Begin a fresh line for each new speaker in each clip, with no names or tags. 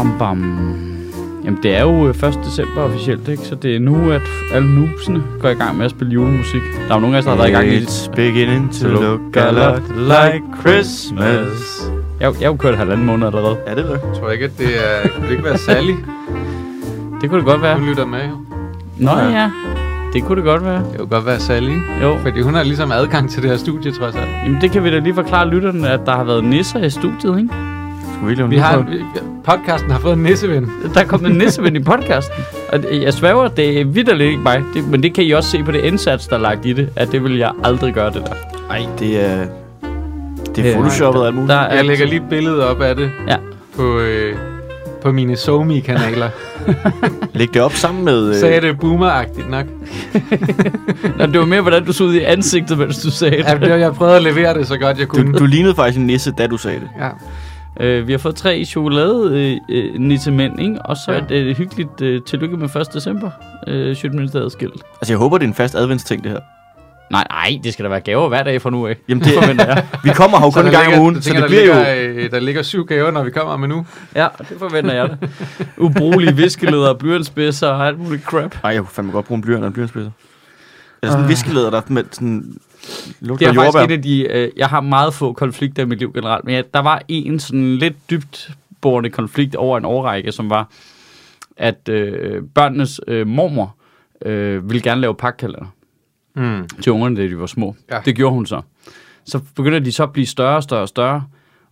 bam, bam. Jamen, det er jo øh, 1. december officielt, ikke? Så det er nu, at alle noobsene går i gang med at spille julemusik. Der er jo nogle af os, der har været i gang i...
It's beginning to look a lot like Christmas.
Jeg, jeg har jo kørt halvanden måned allerede.
Er det vel?
Jeg tror ikke, at det er, kunne det ikke være Sally,
Det kunne det godt være.
hun lytter med. jo.
Nå
Ja.
ja, det kunne det godt være.
Det kunne godt være Sally, ikke?
Jo,
fordi hun har ligesom adgang til det her studie, trods alt.
Jamen, det kan vi da lige forklare lytterne, at der har været nisser i studiet, ikke?
Skulle vi lave
Vi
en
har,
lydprøve?
vi, podcasten har fået en nisseven.
Der er kommet en nisseven i podcasten. Og det- jeg sværger, det er vidderligt ikke mig. Det, men det kan I også se på det indsats, der er lagt i det, at det vil jeg aldrig gøre det der.
Ej, det er... Det
Øh,
er photoshoppet og alt muligt.
der er
Jeg lægger lige et billede op af det
Ja.
på, øh, på mine Somi-kanaler.
Læg det op sammen med... øh,
Sagde det boomeragtigt nok.
Nå, det var mere, hvordan du så ud i ansigtet, mens du sagde det.
Ja, det var- Jeg prøvede at levere det så godt, jeg kunne.
Du, du lignede faktisk en nisse, da du sagde det.
Ja.
Øh, vi har fået tre chokolade øh, øh, nissemænd, ikke? Og så
Ja.
et øh, hyggeligt øh, tillykke med 1. december, øh, Sjøtministeriet skilt.
Altså, jeg håber, det er en fast adventsting, det her.
Nej, nej, det skal der være gaver hver dag fra nu af. øh,
Jamen, det forventer jeg. Vi kommer her jo
Så
kun
der
en gang om
ligger-
ugen,
jeg
så
tænker,
det bliver jo...
der ligger, øh, der ligger syv gaver, når vi kommer med nu.
Ja, det forventer jeg da. Ubrugelige viskeleder, blyantspidser og alt muligt crap.
Ej, jeg kunne fandme godt bruge en blyant og en blyantspidser. Eller sådan en viskelæder, der med sådan...
Ah. Det
Lugter
er
af
faktisk
jordbær.
et af de... Øh, jeg har meget få konflikter i mit liv generelt, men jeg, der var en sådan lidt dybt borende konflikt over en årrække, som var, at øh, børnenes øh, mormor øh, ville gerne lave pakkalender.
Mm.
til ungerne, da de var små. Ja.
Ja.
Det gjorde hun så. Så begynder de så at blive større og større og større.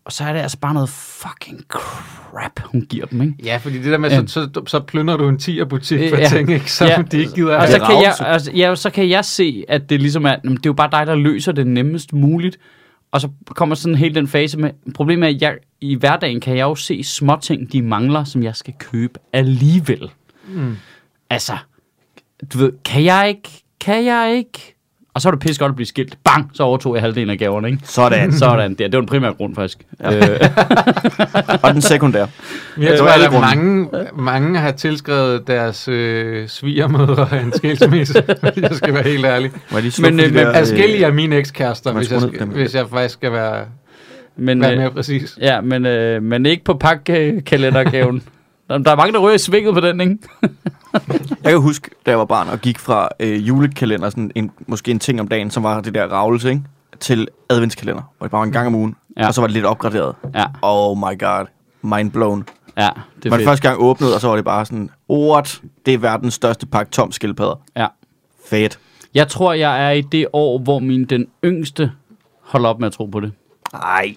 Og så er det altså bare noget fucking crap, hun giver dem, ikke?
Ja, fordi det der med,
Ja.
så, så, så plynder du en 10'er butik for
Ja.
ja. ting, ikke? Som
Ja.
ja. de ikke gider
Og så
have.
det
kan, jeg,
rager, så-
altså, ja, så kan jeg se, at det ligesom er, jamen, det er jo bare dig, der løser det nemmest muligt. Og så kommer sådan hele den fase med, problemet er, at jeg, i hverdagen kan jeg jo se småting, de mangler, som jeg skal købe alligevel.
Mm.
Altså, du ved, kan jeg ikke, kan jeg ikke? Og så er det pisse godt at blive skilt. Bang, så overtog jeg halvdelen af gaverne, ikke?
Sådan.
Sådan der. Det var den primære grund, faktisk. Ja. Øh,
Og den sekundære.
Men
Altså,
Jeg
Det
tror,
var alle
at
grunde.
mange, mange har tilskrevet deres øh, svigermødre en skilsmisse, hvis jeg skal være helt ærlig.
Må jeg lige slukke
Men,
for
øh,
de
men
der, øh,
Adskillige af mine ekskærester,
man
hvis jeg,
skruer ned
skal,
dem.
hvis jeg faktisk skal være,
men,
være
øh,
mere præcis.
ja, men, øh, men ikke på pakkekalendergaven. Der der er mange, der rører i svinget på den, ikke?
Jeg kan huske, da jeg var barn og gik fra øh, julekalender, sådan en, måske en ting om dagen, som var det der ravelse, ikke? til adventskalender, hvor det bare var en gang om ugen,
Ja.
ja. og så var det lidt opgraderet.
Ja,
Oh my god, mind blown.
ja, det er
Man
fedt.
første gang åbnede, og så var det bare sådan, what, det er verdens største pakke tom skildpadder.
Ja.
Fedt.
Jeg tror, jeg er i det år, hvor min den yngste holder op med at tro på det.
Ej.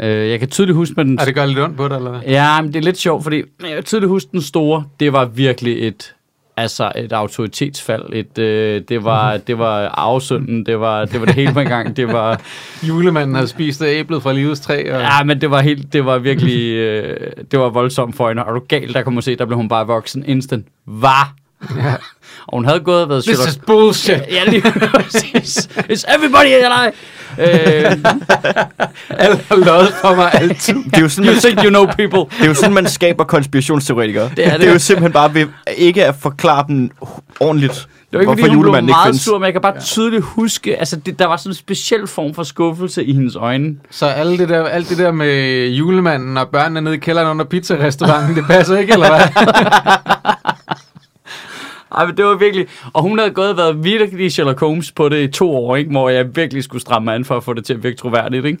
Øh, jeg kan tydeligt huske, at den...
Er det gør lidt ondt på dig, eller hvad?
Ja, men det er lidt sjovt, fordi jeg kan tydeligt huske den store. Det var virkelig et altså et autoritetsfald. Et, øh, det, var,
Mhm.
det var arvesynden. Det var, det var det hele på en gang. Det var...
Julemanden havde spist af æblet fra livets træ, og ja.
Ja, men det var helt, det var virkelig, øh, det var voldsomt for hende. Og er du gal, der kunne man se, der blev hun bare voksen instant. Var. og hun havde gået og været
this
Sherlock.
is bullshit.
Ja, lige præcis. It's everybody alive. Øh,
Alle har løjet for mig altid.
Det er jo sådan,
you
man,
think you know people.
det er jo sådan, man skaber konspirationsteoretikere.
Det er det.
det er jo simpelthen bare ved ikke at forklare dem ordentligt,
Det var ikke, fordi
hvorfor
hun blev
julemanden ikke
meget
findes.
sur, men jeg kan bare tydeligt huske, altså det, der var sådan en speciel form for skuffelse i hendes øjne.
Så alle det der, alt det der med julemanden og børnene nede i kælderen under pizzarestauranten, det passer ikke, eller hvad?
Ej, men det var virkelig... Og hun havde gået og været virkelig Sherlock Holmes på det i to år, ikke? Hvor jeg virkelig skulle stramme mig an for at få det til at virke troværdigt, ikke?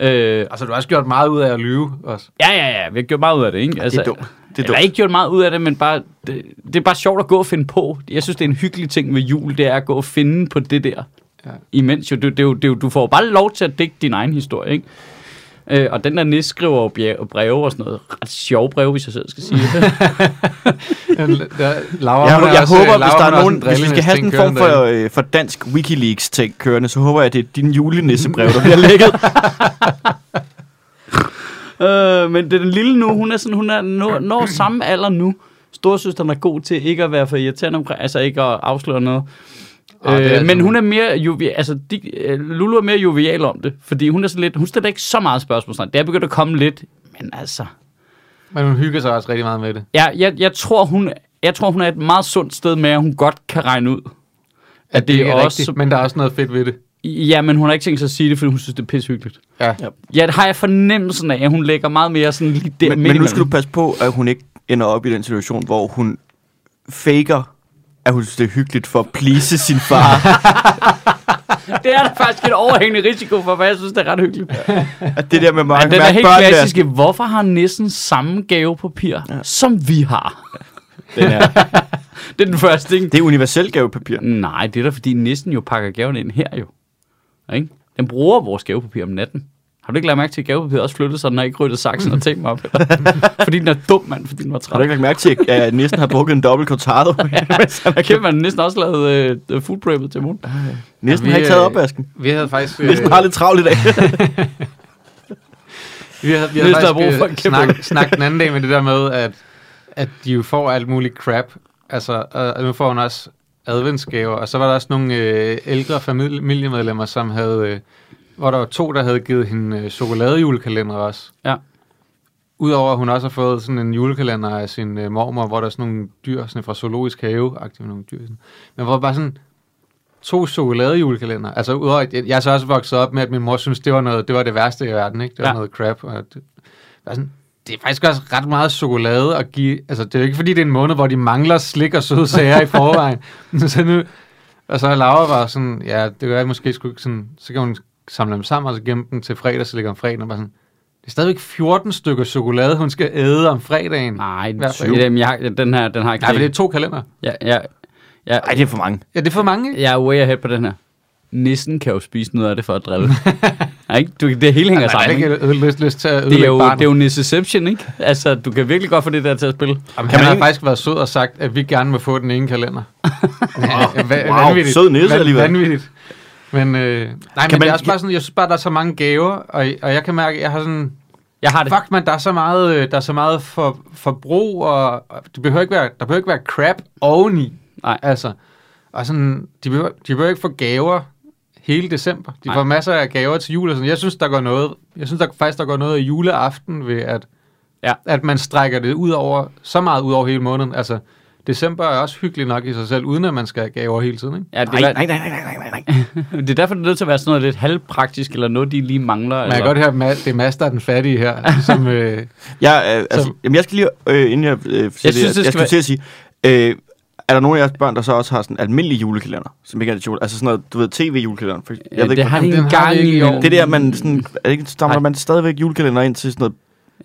Mm. Øh,
Altså, du har også gjort meget ud af at lyve også.
Ja, ja, ja. Vi har gjort meget ud af det, ikke? Altså-
det er dumt. Det er
Jeg
dumt.
har ikke gjort meget ud af det, men bare, det, det er bare sjovt at gå og finde på. Jeg synes, det er en hyggelig ting ved jul, det er at gå og finde på det der. Ja.
Ja.
Imens jo, det, det, er jo- det, er jo- du får jo bare lov til at digte din egen historie, ikke? Øh, og den der næste skriver jo bje- breve og sådan noget. Ret sjove breve, hvis jeg selv skal sige det.
øh, Der, Laura,
Jeg,
hun
jeg, jeg
også-
håber, hvis der
Laura, hun
er
også
nogen,
en
hvis vi skal have sådan en
drillenes
form
ting kørende
for, øh, for dansk Wikileaks-ting kørende, så håber jeg, at det er din julenissebrev, der bliver lækket.
øh, men det er den lille nu, hun er sådan, hun er når, når samme alder nu. Storsøsteren er god til ikke at være for irriterende omkring, altså ikke at afsløre noget.
Ah, det er
Øh,
altså-
men hun er mere jovial, altså de, øh, Lulu er mere jovial om det, fordi hun er sådan lidt, hun stiller ikke så meget spørgsmålstegn. Det er begyndt at komme lidt, men altså,
Men hun hygger sig også rigtig meget med det.
jeg, jeg, jeg, tror, hun, jeg tror, hun er et meget sundt sted med, at hun godt kan regne ud. At det,
Det
er
er
også,
rigtigt, men der er også noget fedt ved det.
Ja, men hun har ikke tænkt sig at sige det, fordi hun synes, det er pissehyggeligt.
Ja.
Ja, det har jeg fornemmelsen af, at hun lægger meget mere sådan lige der
men,
midt
men nu
imellem.
skal du passe på, at hun ikke ender op i den situation, hvor hun faker, at hun synes, det er hyggeligt for at please sin far.
Det er der faktisk en overhængende risiko for, for jeg synes, det er ret hyggeligt.
at det der med
Ja,
mange
den er helt
børn,
klassiske. Hvorfor har nissen samme gavepapir, ja. som vi har?
Der, den er,
Det er den første ting.
det er universelt gavepapir.
Nej, det er da fordi nissen jo pakker gaven ind her jo. Ikke? Den bruger vores gavepapir om natten. Har du ikke lagt mærke til, at gavepapiret også flyttede sig, når jeg ikke ryddede saksen og tænkte mig op? fordi den er dum, mand, fordi den var
Har du
træt.
ikke lagt mærke til, at næsten har brugt en dobbelt cortado?
Jeg kæmper, man næsten også lavet øh, food prepet til morgen.
Næsten
Vi,
har ikke taget
øh,
opvasken.
Vi havde faktisk... Øh,
Næsten har lidt travlt i dag.
Vi havde, vi
Hvis
havde
der er brug for en
faktisk
kæmpe
øh,
øl.
snak, snak den anden dag med det der med, at, at de jo får alt muligt crap. Altså, og, og nu får hun også adventsgaver. Og så var der også nogle øh, ældre familie- familiemedlemmer, som havde... Øh, hvor der var to, der havde givet hende øh, chokoladejulekalender også.
Ja.
Udover at hun også har fået sådan en julekalender af sin øh, mormor, hvor der er sådan nogle dyr sådan fra zoologisk have -agtige nogle dyr. Sådan. Men hvor bare sådan to chokoladejulekalender. Altså udover, at jeg, jeg er så også vokset op med, at min mor synes, det var, noget, det, var det værste i verden. Ikke? Det var
Ja.
ja. noget crap. Og det, bare sådan, det er faktisk også ret meget chokolade at give. Altså, det er jo ikke, fordi det er en måned, hvor de mangler slik og søde sager i forvejen. så nu, og så er Laura bare sådan, ja, det gør jeg måske sgu ikke sådan, så kan hun samle dem sammen, og så gemme dem til fredag, så ligger om fredagen, og bare sådan, det er stadigvæk 14 stykker chokolade, hun skal æde om fredagen.
Nej,
Hvert fald.
det, jamen, jeg, har- den her, den har jeg ikke.
Nej, for det er to kalender.
jeg, jeg, jeg,
Nej, det er for mange.
Ja, det er for mange. ikke?
jeg er way ahead på den her. Nissen kan jo spise noget af det for at drille. Ja, ikke? Du, det hele hænger
Altså,
sammen.
jeg
Ikke?
har ikke lyst, lyst til at
Det er
ødelægge
jo,
barnet.
det er jo Nisseception, ikke? Altså, du kan virkelig godt få det der til at spille.
Jamen,
Kan
han
man
har
ikke-
faktisk været sød og sagt, at vi gerne må få den ene kalender. wow,
Wow, sød nisse alligevel.
Vanvittigt. Men, øh, nej, men
man-
det er også bare sådan, jeg synes bare, der er så mange gaver, og, og jeg kan mærke, at jeg har sådan,
Jeg har det.
fuck man, der er så meget, øh, der er så meget for, forbrug, og, og det behøver ikke være, der behøver ikke være crap oveni.
Nej.
Altså, og sådan, de behøver, de behøver ikke få gaver hele december. De
Nej.
Nej. får masser af gaver til jul og sådan. Jeg synes, der går noget, jeg synes der faktisk, der går noget i juleaften ved, at,
Ja.
at man strækker det ud over, så meget ud over hele måneden. Altså, december er også hyggelig nok i sig selv, uden at man skal have gaver hele tiden, ikke?
Ja, det,
Nej,
er,
nej, nej, nej, nej, nej, nej.
det er derfor, det er nødt til at være sådan noget lidt halvpraktisk, eller noget, de lige mangler.
Man
eller,
kan godt høre, at Ma- det er Mads, der er den fattige her, som... Øh,
Jeg, øh, altså,
Så-
jamen, jeg skal lige, øh, inden jeg, øh, siger
synes, det
jeg,
skal
jeg skal
være-
til at sige, øh, er der nogen af jeres børn, der så også har sådan en almindelig julekalender, som ikke er det jule, altså sådan noget, du ved, tv-julekalender? For,
ja, det har de
den
en
har
gang
vi ikke
i
i
år.
år.
det der, man sådan, er det ikke, stammer
Nej.
man stadigvæk julekalender ind til sådan noget?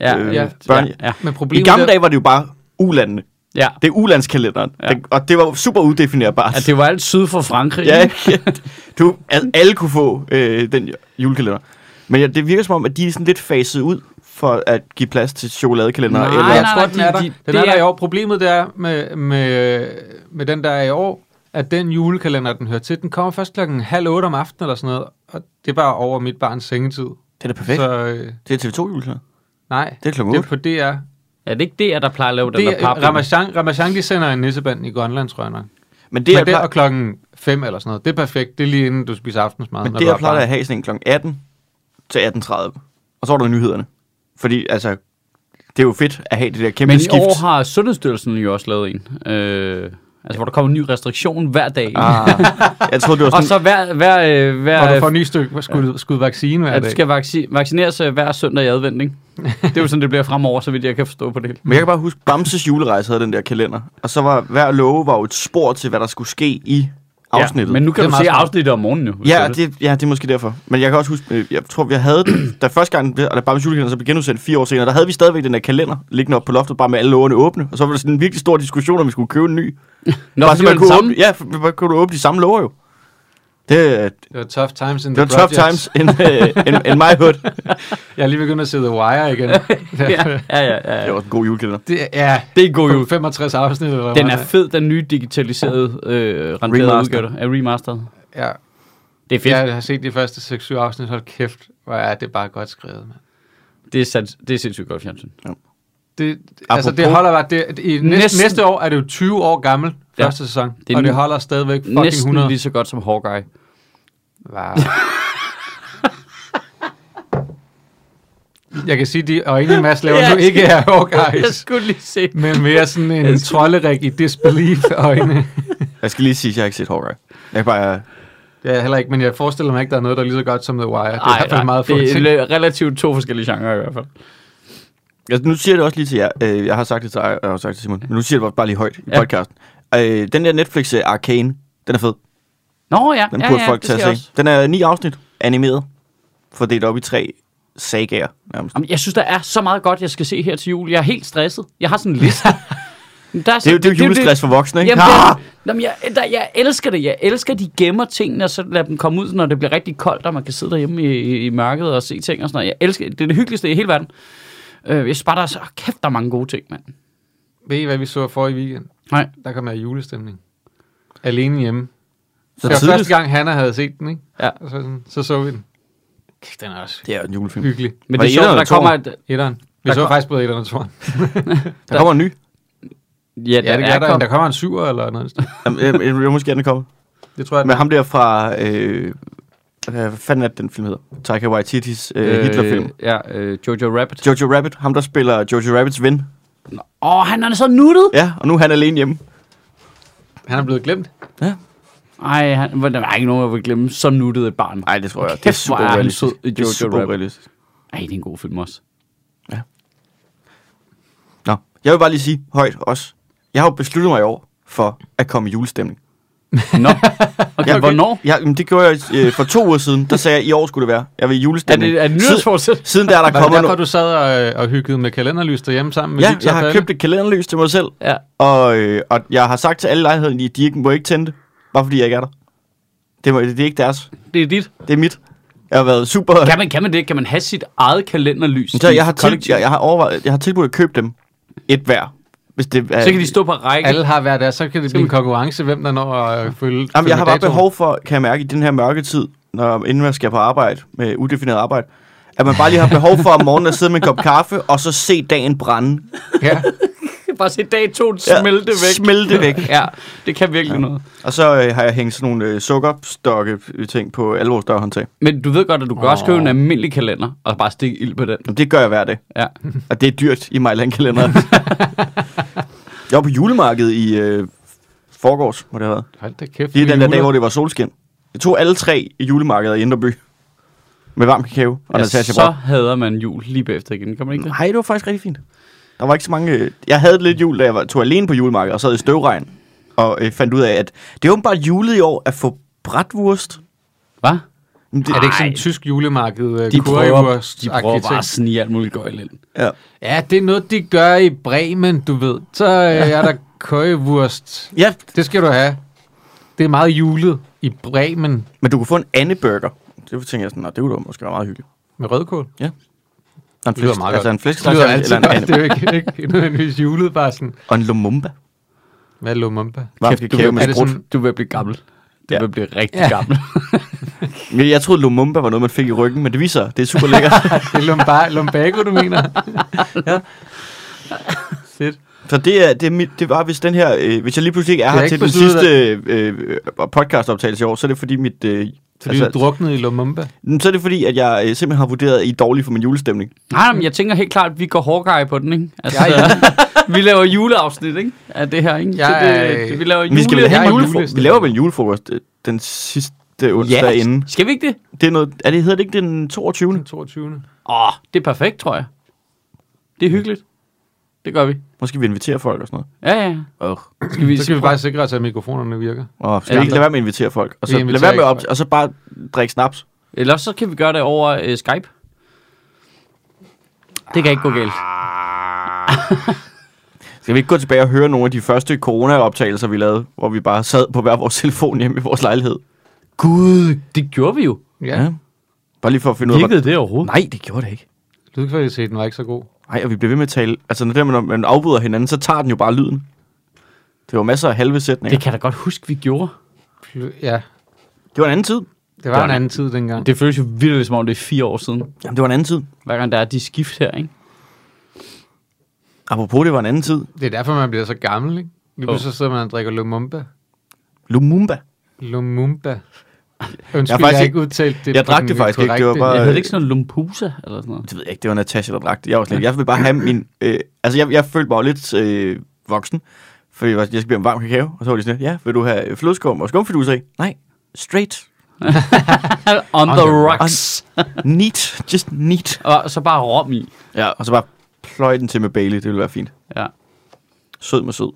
ja,
øh,
ja,
børn-
ja,
men
I
problemet
gamle
er-
dage var det jo bare ulandene.
ja.
Det er ulandskalenderen,
Ja.
ja. og det var super udefinerbart.
Ja, det var alt syd for Frankrig.
Ja,
ikke?
ikke? du, al, alle kunne få øh, den julekalender. Men ja, det virker som om, at de er sådan lidt faset ud for at give plads til chokoladekalender.
Nej,
eller,
Nej, jeg
nej,
tror,
nej,
den er
de-
der.
de-
den
det
er
er-
der i år. Problemet det er med, med, med den, der er i år, at den julekalender, den hører til, den kommer først klokken halv otte om aftenen eller sådan noget, og det er bare over mit barns sengetid.
Det er da perfekt. Så.
Så øh,
Det er TV2-julekalender.
nej,
Det er klokken
det er
otte.
på DR.
Er det ikke der, der plejer at lave den der
Det
pap?
er, Ramachan, Ramachan, de sender en nisseband i Grønland, tror jeg nok.
Men
Det
det,
er
jeg
Men der
plejer,
og klokken 5 eller sådan noget. Det er perfekt. Det er lige inden du spiser aftensmad.
men det,
når du
jeg
har
plejer
barn.
at have sådan en kl. 18 til 18.30. Og så var der nyhederne. Fordi altså, det er jo fedt at have det der kæmpe
Men i
skift.
år har Sundhedsstyrelsen jo også lavet en. Øh, altså, hvor der kommer en ny restriktion hver dag.
Ah, jeg troede, det var
Og
sådan...
så hver, hver, øh, hver,
Og du får en ny stykke skud, skud vaccine hver
at du
dag.
skal vacci- vaccineres øh, hver søndag i advent, ikke? Det er jo sådan, det bliver fremover, så vidt jeg kan forstå på det. hele.
Men jeg kan bare huske, Bamses julerejse havde den der kalender. Og så var hver love var jo et spor til, hvad der skulle ske i afsnittet.
Ja, men nu kan
Det
du
er meget
se
smart.
afsnittet om morgenen, jo. hvis
Ja,
er
det, ja, det er måske derfor. Men jeg kan også huske, øh, jeg tror, vi havde den, da første gang, og da Bams julekalender så blev genudsendt fire år senere, der havde vi stadigvæk den der kalender liggende op på loftet, bare med alle lågerne åbne. Og så var der sådan en virkelig stor diskussion, om vi skulle købe en ny.
Nå,
bare
fordi det er
man
den
kunne
samme.
åbne, ja, for, for, kunne du åbne de samme låger jo. Det, øh,
Det var tough times in
det var
the
tough
projects.
times in, uh, in, in my hood.
Jeg er lige begyndt at se The Wire igen.
ja, ja, ja, ja,
Det var
ja.
også en god julekalender.
det, ja,
Det er en god jul.
65 afsnit. Eller
Den er fed, den nye digitaliserede, øh, renderede
Remastered.
udgave af remastered.
Ja,
Det er fedt.
jeg har set de første 6-7 afsnit, hold kæft, hvor er det bare godt skrevet, mand.
Det, er sat, det er sindssygt godt fjernsyn.
Det, altså, det
Apropos-
holder bare, det, i næste,
Næsten-
næste år er det jo 20 år gammel,
Ja.
ja. første sæson,
Det er
og det
nu-
holder stadigvæk fucking
Næsten
100.
lige så godt som Hawkeye.
Wow. Jeg kan sige, at de øjne, Mads laver
Ja.
nu ikke er
Jeg
Hawkeyes,
skulle lige se.
men mere sådan en trolderik i disbelief-øjne.
Jeg skal lige sige, at jeg har ikke set Hawkeye. Jeg kan bare...
Ja, heller ikke, men jeg forestiller mig ikke, der er noget, der er lige så godt som The Wire. Det er i hvert fald meget få
det
ting.
er relativt to forskellige genrer i hvert fald.
Altså, nu siger jeg det også lige til jer. Øh, jeg har sagt det til jeg har sagt det til Simon. Men nu siger jeg det bare lige højt i
Ja.
podcasten. Øh, den der Netflix øh, Arcane, den er fed.
Nå ja,
Den
ja,
burde
ja,
folk
det
tage
ser jeg
at se.
også.
Den er ni afsnit animeret. Fordelt op i tre sagaer, nærmest.
Jamen, jeg synes, der er så meget godt, jeg skal se her til jul. Jeg er helt stresset. Jeg har sådan en liste. Men der
Det er jo, det er jo julestress for voksne, ikke?
Jamen,
Ah!
det, jamen jeg, der, jeg elsker det. Jeg elsker, at de gemmer tingene, og så lader dem komme ud, når det bliver rigtig koldt, og man kan sidde derhjemme i, i- i mørket og se ting og sådan noget. Jeg elsker det. er det hyggeligste i hele verden. Øh, jeg synes bare, der er så kæft, der er mange gode ting, mand.
Ved I, hvad vi så for i weekend?
Nej.
Der kom jeg i julestemning. Alene hjemme.
Så
Så det var
tidligt.
første gang, Hanna havde set den, ikke?
Ja.
Og Så, sådan, så så vi den. Kæft, den er også
Det er en julefilm.
hyggelig.
Men
Var
det er
det
sjovt,
etteren
der
eller
kommer... Et,
Etteren. Vi
Der
så
kom-
faktisk både etteren og toeren.
Der kommer en ny.
ja,
Ja,
den
det
er
gør der.
kommet.
Der kommer en syver eller noget. i den stil.
Jamen, jeg, jeg, jeg, måske er den kommet.
Det tror jeg,
Med ham der fra... Øh, hvad fanden er det, den film hedder? Taika Waititi's øh, Hitlerfilm.
Ja, øh, Jojo Rabbit.
Jojo Rabbit. Ham, der spiller Jojo Rabbits ven.
Åh, oh, han er så nuttet.
Ja, og nu er han alene hjemme.
han er blevet glemt.
Ej, han, hvor- der er ikke nogen, jeg vil glemme. Så nuttet et barn.
Nej, det tror jeg. Det er
Kæft, hvor
super
er han
realistisk.
sød i
Det er
Jojo
super
Rabbit.
realistisk.
Ej, det er en god film også.
Nå, jeg vil bare lige sige højt også. Jeg har jo besluttet mig i år for at komme i julestemning.
Nå, okay,
Ja,
ja, hvornår?
Jeg, jamen, det gjorde jeg øh, for to uger siden. Der sagde jeg, i år skulle det være. Jeg vil i
Er
julestemning.
det, er det
siden,
nyhedsforsæt?
siden der er der
Var det
kommet
derfor,
noget.
du sad og, og hyggede med kalenderlys derhjemme sammen med
Ja,
Victor
jeg har
Palle?
købt et kalenderlys til mig selv.
Ja.
Og, øh, og jeg har sagt til alle lejligheden, at de ikke, må ikke tænde det. Bare fordi jeg ikke er der. Det, må, det er ikke deres.
Det er dit.
Det er mit. Jeg har været super...
Kan man, kan man det? Kan man have sit eget kalenderlys?
Så
i
jeg har, til,
kollektiv?
jeg, jeg, har overvejet, jeg har tilbudt at købe dem et hver. Hvis det, er,
Så kan de stå på række.
Alle har hver deres, så kan det blive en konkurrence, hvem der når at følge
Jamen,
følge
jeg har bare
datoen.
behov for, kan jeg mærke, i den her mørke tid, når, inden man skal på arbejde, med udefineret arbejde, at man bare lige har behov for om morgenen at sidde med en kop kaffe, og så se dagen brænde.
Ja.
Bare se dag to smelte væk.
Smelte væk.
Ja, det kan virkelig ja. noget.
Og så øh, har jeg hængt sådan nogle øh, sukkerstokke ting på alle vores dørhåndtag.
Men du ved godt, at du kan også
Åh.
købe en almindelig kalender, og bare stikke ild på den.
Jamen, det gør jeg hver dag.
Ja.
Og det er dyrt i Mejland-kalenderen. jeg var på julemarkedet i øh, forgårs, må det have været.
Hold da kæft.
Lige
vi
den der dag,
juler.
hvor det var solskin. Jeg tog alle tre i julemarkedet i Indreby. Med varm kakao og ja, Natasha
så hader man jul lige bagefter igen. Kan man ikke det?
Nej, det var faktisk rigtig fint. Der var ikke så mange... øh, Jeg havde lidt jul, da jeg var, tog alene på julemarkedet og sad i støvregn. Og øh, fandt ud af, at det er åbenbart julet i år at få bratwurst.
Hvad?
Men Det,
Er det ikke sådan en tysk julemarked? øh,
De prøver,
currywurst-
de prøver bare
arkitek-
at snige alt muligt gøjl ind.
ja.
Ja, det er noget, de gør i Bremen, du ved. Så øh, er der currywurst.
ja,
Det skal du have. Det er meget julet i Bremen
men du kunne få en andeburger. Det tænkte jeg sådan, nå, det kunne da måske være meget hyggeligt.
med rødkål.
Og en
Det lyder
flæsk,
meget
altså
godt.
en
Det lyder
flæskesteg
altid
eller en
godt. Det
and,
er jo ikke, ikke nødvendigvis julet, bare sådan,
og en lumumba.
hvad er lumumba?
Varm
Kæft, du,
kakao
vil,
med
er det
sprut.
sådan-
du vil blive gammel. Du
Ja.
vil blive rigtig
Ja.
gammel.
Men Jeg troede, lumumba var noget, man fik i ryggen, men det viser sig, det er super lækkert.
Det er lumbar, lumbago, du mener? ja. Fedt.
Så det, er, det, er mit, det var, hvis den her, øh, hvis jeg lige pludselig ikke er
Det er
her
ikke
til den
besluttet,
sidste øh, øh, podcastoptagelse i år, så er det fordi mit... Øh,
Fordi du druknede i lumumba.
Mm, Så er det fordi, at jeg øh, simpelthen har vurderet, at I er dårlige for min julestemning.
Nej, men jeg tænker helt klart, at vi går Hawkeye på den, ikke? Altså, vi laver juleafsnit, ikke? Af det her, ikke?
Jeg
så
er-
det, det, vi laver
Men vi, skal vel
jule-
have
Jeg
en
er
julefro-
julestemning.
vi laver vel en julefrokost øh, den sidste onsdag
Ja,
yes. inden.
skal vi ikke det?
Det er noget, er det, hedder det ikke den 22.
Den 22.
Åh, det er perfekt, tror jeg. Det er hyggeligt. Det gør vi.
Måske vi inviterer folk og sådan
Ja, ja.
noget. Åh,
Skal vi,
Så skal vi bare sikre os, at mikrofonerne virker.
oh, skal
Ja.
vi ikke lade være med at invitere folk? Og
Vi
så, lad
inviterer
være med
ikke
op,
folk.
og så bare drikke snaps.
Ellers så kan vi gøre det over øh, Skype. Det kan ikke gå galt.
Skal vi ikke gå tilbage og høre nogle af de første corona-optagelser, vi lavede, hvor vi bare sad på hver vores telefon hjemme i vores lejlighed?
Gud, det gjorde vi jo.
Ja.
Ja. Bare lige for at finde ud af...
Virkede det overhovedet?
Nej, det gjorde det ikke.
Lydkvaliteten var ikke så god.
Nej, og vi blev ved med at tale. Altså, når, det, når man afbryder hinanden, så tager den jo bare lyden. Det var masser af halve sætninger.
Det kan jeg da godt huske, vi gjorde.
Pl- Ja,
Det var en anden tid.
det var en anden tid dengang.
Det føles jo vildt som om, det er fire år siden.
Jamen, det var en anden tid.
Hver gang der er de skift her, ikke?
Apropos, det var en anden tid.
Det er derfor, man bliver så gammel, ikke? Lige
Jo.
pludselig så sidder man og drikker lumumba.
Lumumba.
Lumumba.
Jeg
Undskyld,
har
jeg,
faktisk
har ikke udtalt det.
jeg
på
drak
den
det faktisk ikke, det
korrekte-
var bare-
Jeg havde ikke sådan noget lumpusa eller sådan noget.
Det ved jeg ikke, det var Natasha, der drak det. Jeg var sådan, lidt- jeg vil bare have min... Øh, altså, jeg, jeg følte mig jo lidt øh, voksen. Fordi jeg, var sådan, jeg skal blive en varm kakao. Og så var de sådan, lidt, ja, vil du have flødeskum og skumfiduser i? Nej, straight.
On the
the
rocks.
Neat. Just neat.
Og så bare rom i.
Ja, og så bare pløj den til med Bailey. Det ville være fint.
Ja.
Sød med sød.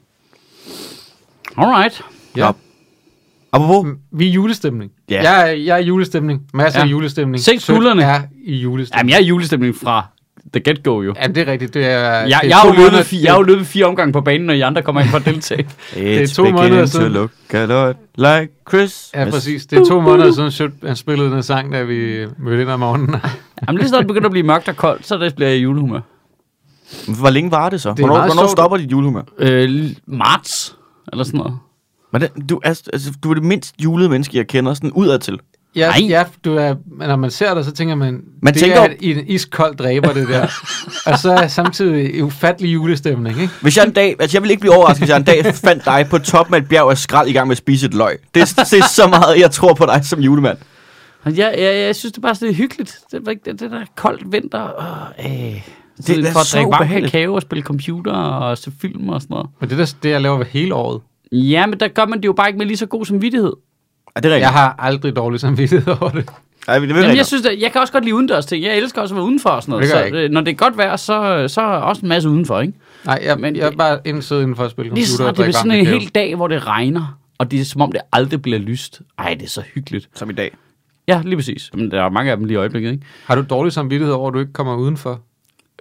Alright.
Ja.
Nå. Apropos,
Vi er i julestemning.
Ja.
Jeg, er, jeg er i julestemning. Masser
Ja.
ja. af julestemning.
Se
Sødt
kuglerne.
er i julestemning.
Jamen, jeg er i julestemning fra the get-go jo.
Jamen, det er rigtigt. Det er, det
Jeg,
er
jeg, har
to
jo løbet,
måneder-
fi- jeg har jo løbet fire omgange på banen, når I andre kommer ind for at deltage.
It's
to måneder
beginning To
siden.
look a lot like Chris.
Ja, præcis. Det er to måneder siden, Sjøt, han spillede den sang, da vi mødte ind om morgenen.
Jamen, lige snart det begynder at blive mørkt og koldt, så det bliver jeg i julehumør.
Hvor længe var det så?
er
Det hvornår
meget
hvornår
sjovt.
stopper dit julehumør?
Øh, l- marts, eller sådan noget.
Hvordan, du, er, altså, du er det mindst julede menneske, jeg kender sådan udadtil.
Ja,
Nej.
ja du er, når man ser dig, så tænker man,
Man
det
tænker
er
jo-
en iskold dræber, det der. og så er samtidig en ufattelig julestemning, ikke?
Hvis jeg en dag, altså jeg vil ikke blive overrasket, hvis jeg en dag fandt dig på toppen af et bjerg af skrald i gang med at spise et løg. Det, er- det er så meget, jeg tror på dig som julemand.
Altså, Jeg, jeg, jeg synes, det er bare sådan lidt hyggeligt. Det, er ikke- det, det der koldt vinter. Åh, øh. Det
er
er for at
så
drikke varm
ubehageligt.
kakao og spille computer og se film og sådan noget.
Men det er det, jeg laver hele året.
Ja, men der gør man det jo bare ikke med lige så god samvittighed.
Ja, det er
Jeg
rigtigt.
har aldrig dårlig samvittighed over det.
Ja, det er
Jamen, jeg,
rigtigt.
synes, at jeg kan også godt lide udendørs ting. Jeg elsker også at være udenfor og sådan noget.
Det gør jeg
så, øh, når det er godt vejr, så, så er også en masse udenfor, ikke?
Nej, jeg,
Men
Men jeg er bare indsød inden for at spille
Lige så
computer og
snart Ligesom, det er
drikke varm
sådan en
kakao.
hel dag, hvor det regner, og det er som om, det aldrig bliver lyst. Ej, det er så hyggeligt.
Som i dag.
Ja, lige præcis. Men der er mange af dem lige i øjeblikket, ikke?
Har du dårlig samvittighed over, at du ikke kommer udenfor?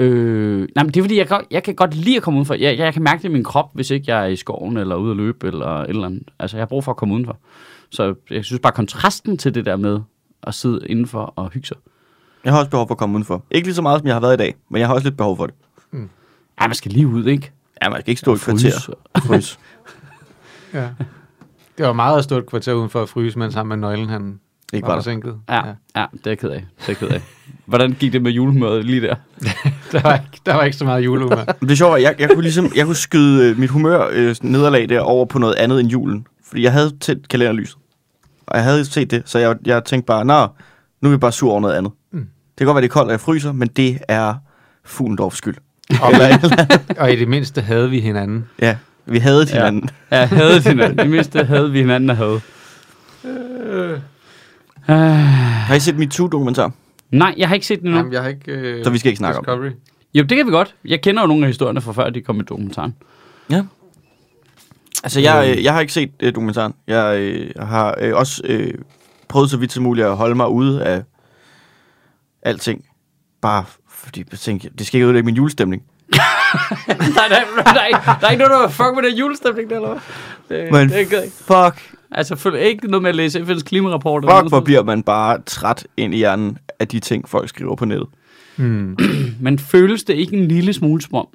Øh, nej, men det er fordi, jeg kan, jeg kan godt lide at komme udenfor. Jeg, jeg kan mærke det i min krop, hvis ikke jeg er i skoven eller ude at løbe eller et eller andet. Altså, jeg har brug for at komme udenfor. Så jeg synes bare, kontrasten til det der med at sidde indenfor og hygge sig.
Jeg har også behov for at komme udenfor. Ikke lige så meget, som jeg har været i dag, men jeg har også lidt behov for det.
Ej, man skal lige ud, ikke?
Ja, man skal ikke stå i et
fryse.
kvarter. Frys.
Ja. Det var meget at stå et kvarter udenfor at fryse, mens ham med nøglen, han
Ikke
var
var der.
forsinket.
Ja, ja. ja, det er jeg ked af. Det er jeg ked af. Hvordan gik det med julemødet lige der?
Der, var ikke, der var ikke så meget julehumør.
Men Det er sjovt, at jeg, jeg kunne ligesom, jeg kunne skyde øh, mit humør øh, sådan nederlag der over på noget andet end julen. Fordi jeg havde tændt kalenderlyset. Og jeg havde set det, så jeg, jeg tænkte bare, nå, nu er vi bare sur over noget andet. Mm. Det kan godt være, det er koldt, og jeg fryser, men det er Fuglendorfs skyld.
Og, og i det mindste havde vi
Mm.
hinanden.
Ja, vi havde hinanden. Ja.
Ja, havde hinanden. I mindste havde vi hinanden at have.
Har I set MeToo-dokumentar?
Nej, jeg har ikke set den endnu.
Jamen, jeg har ikke... Øh,
Så vi skal ikke snakke om det.
Discovery.
Jo, det kan vi godt. Jeg kender jo nogle af historierne fra før, de kom i dokumentaren.
Ja. Altså, jeg, øh, jeg har ikke set øh, dokumentaren. Jeg øh, har øh, også øh, prøvet så vidt som muligt at holde mig ude af alting. Bare fordi jeg tænkte, det skal ikke ødelægge min julestemning.
nej, nej, nej, nej, der er ikke noget, der var fuck med den julestemning, der, eller hvad? Det,
Men
det er ikke,
fuck,
altså, følg ikke noget med at læse FN's klimarapport. eller
fuck,
noget
hvor
sådan
bliver man bare træt ind i hjernen af de ting, folk skriver på nettet.
Hmm.
noget. Men føles det ikke en lille smule som om,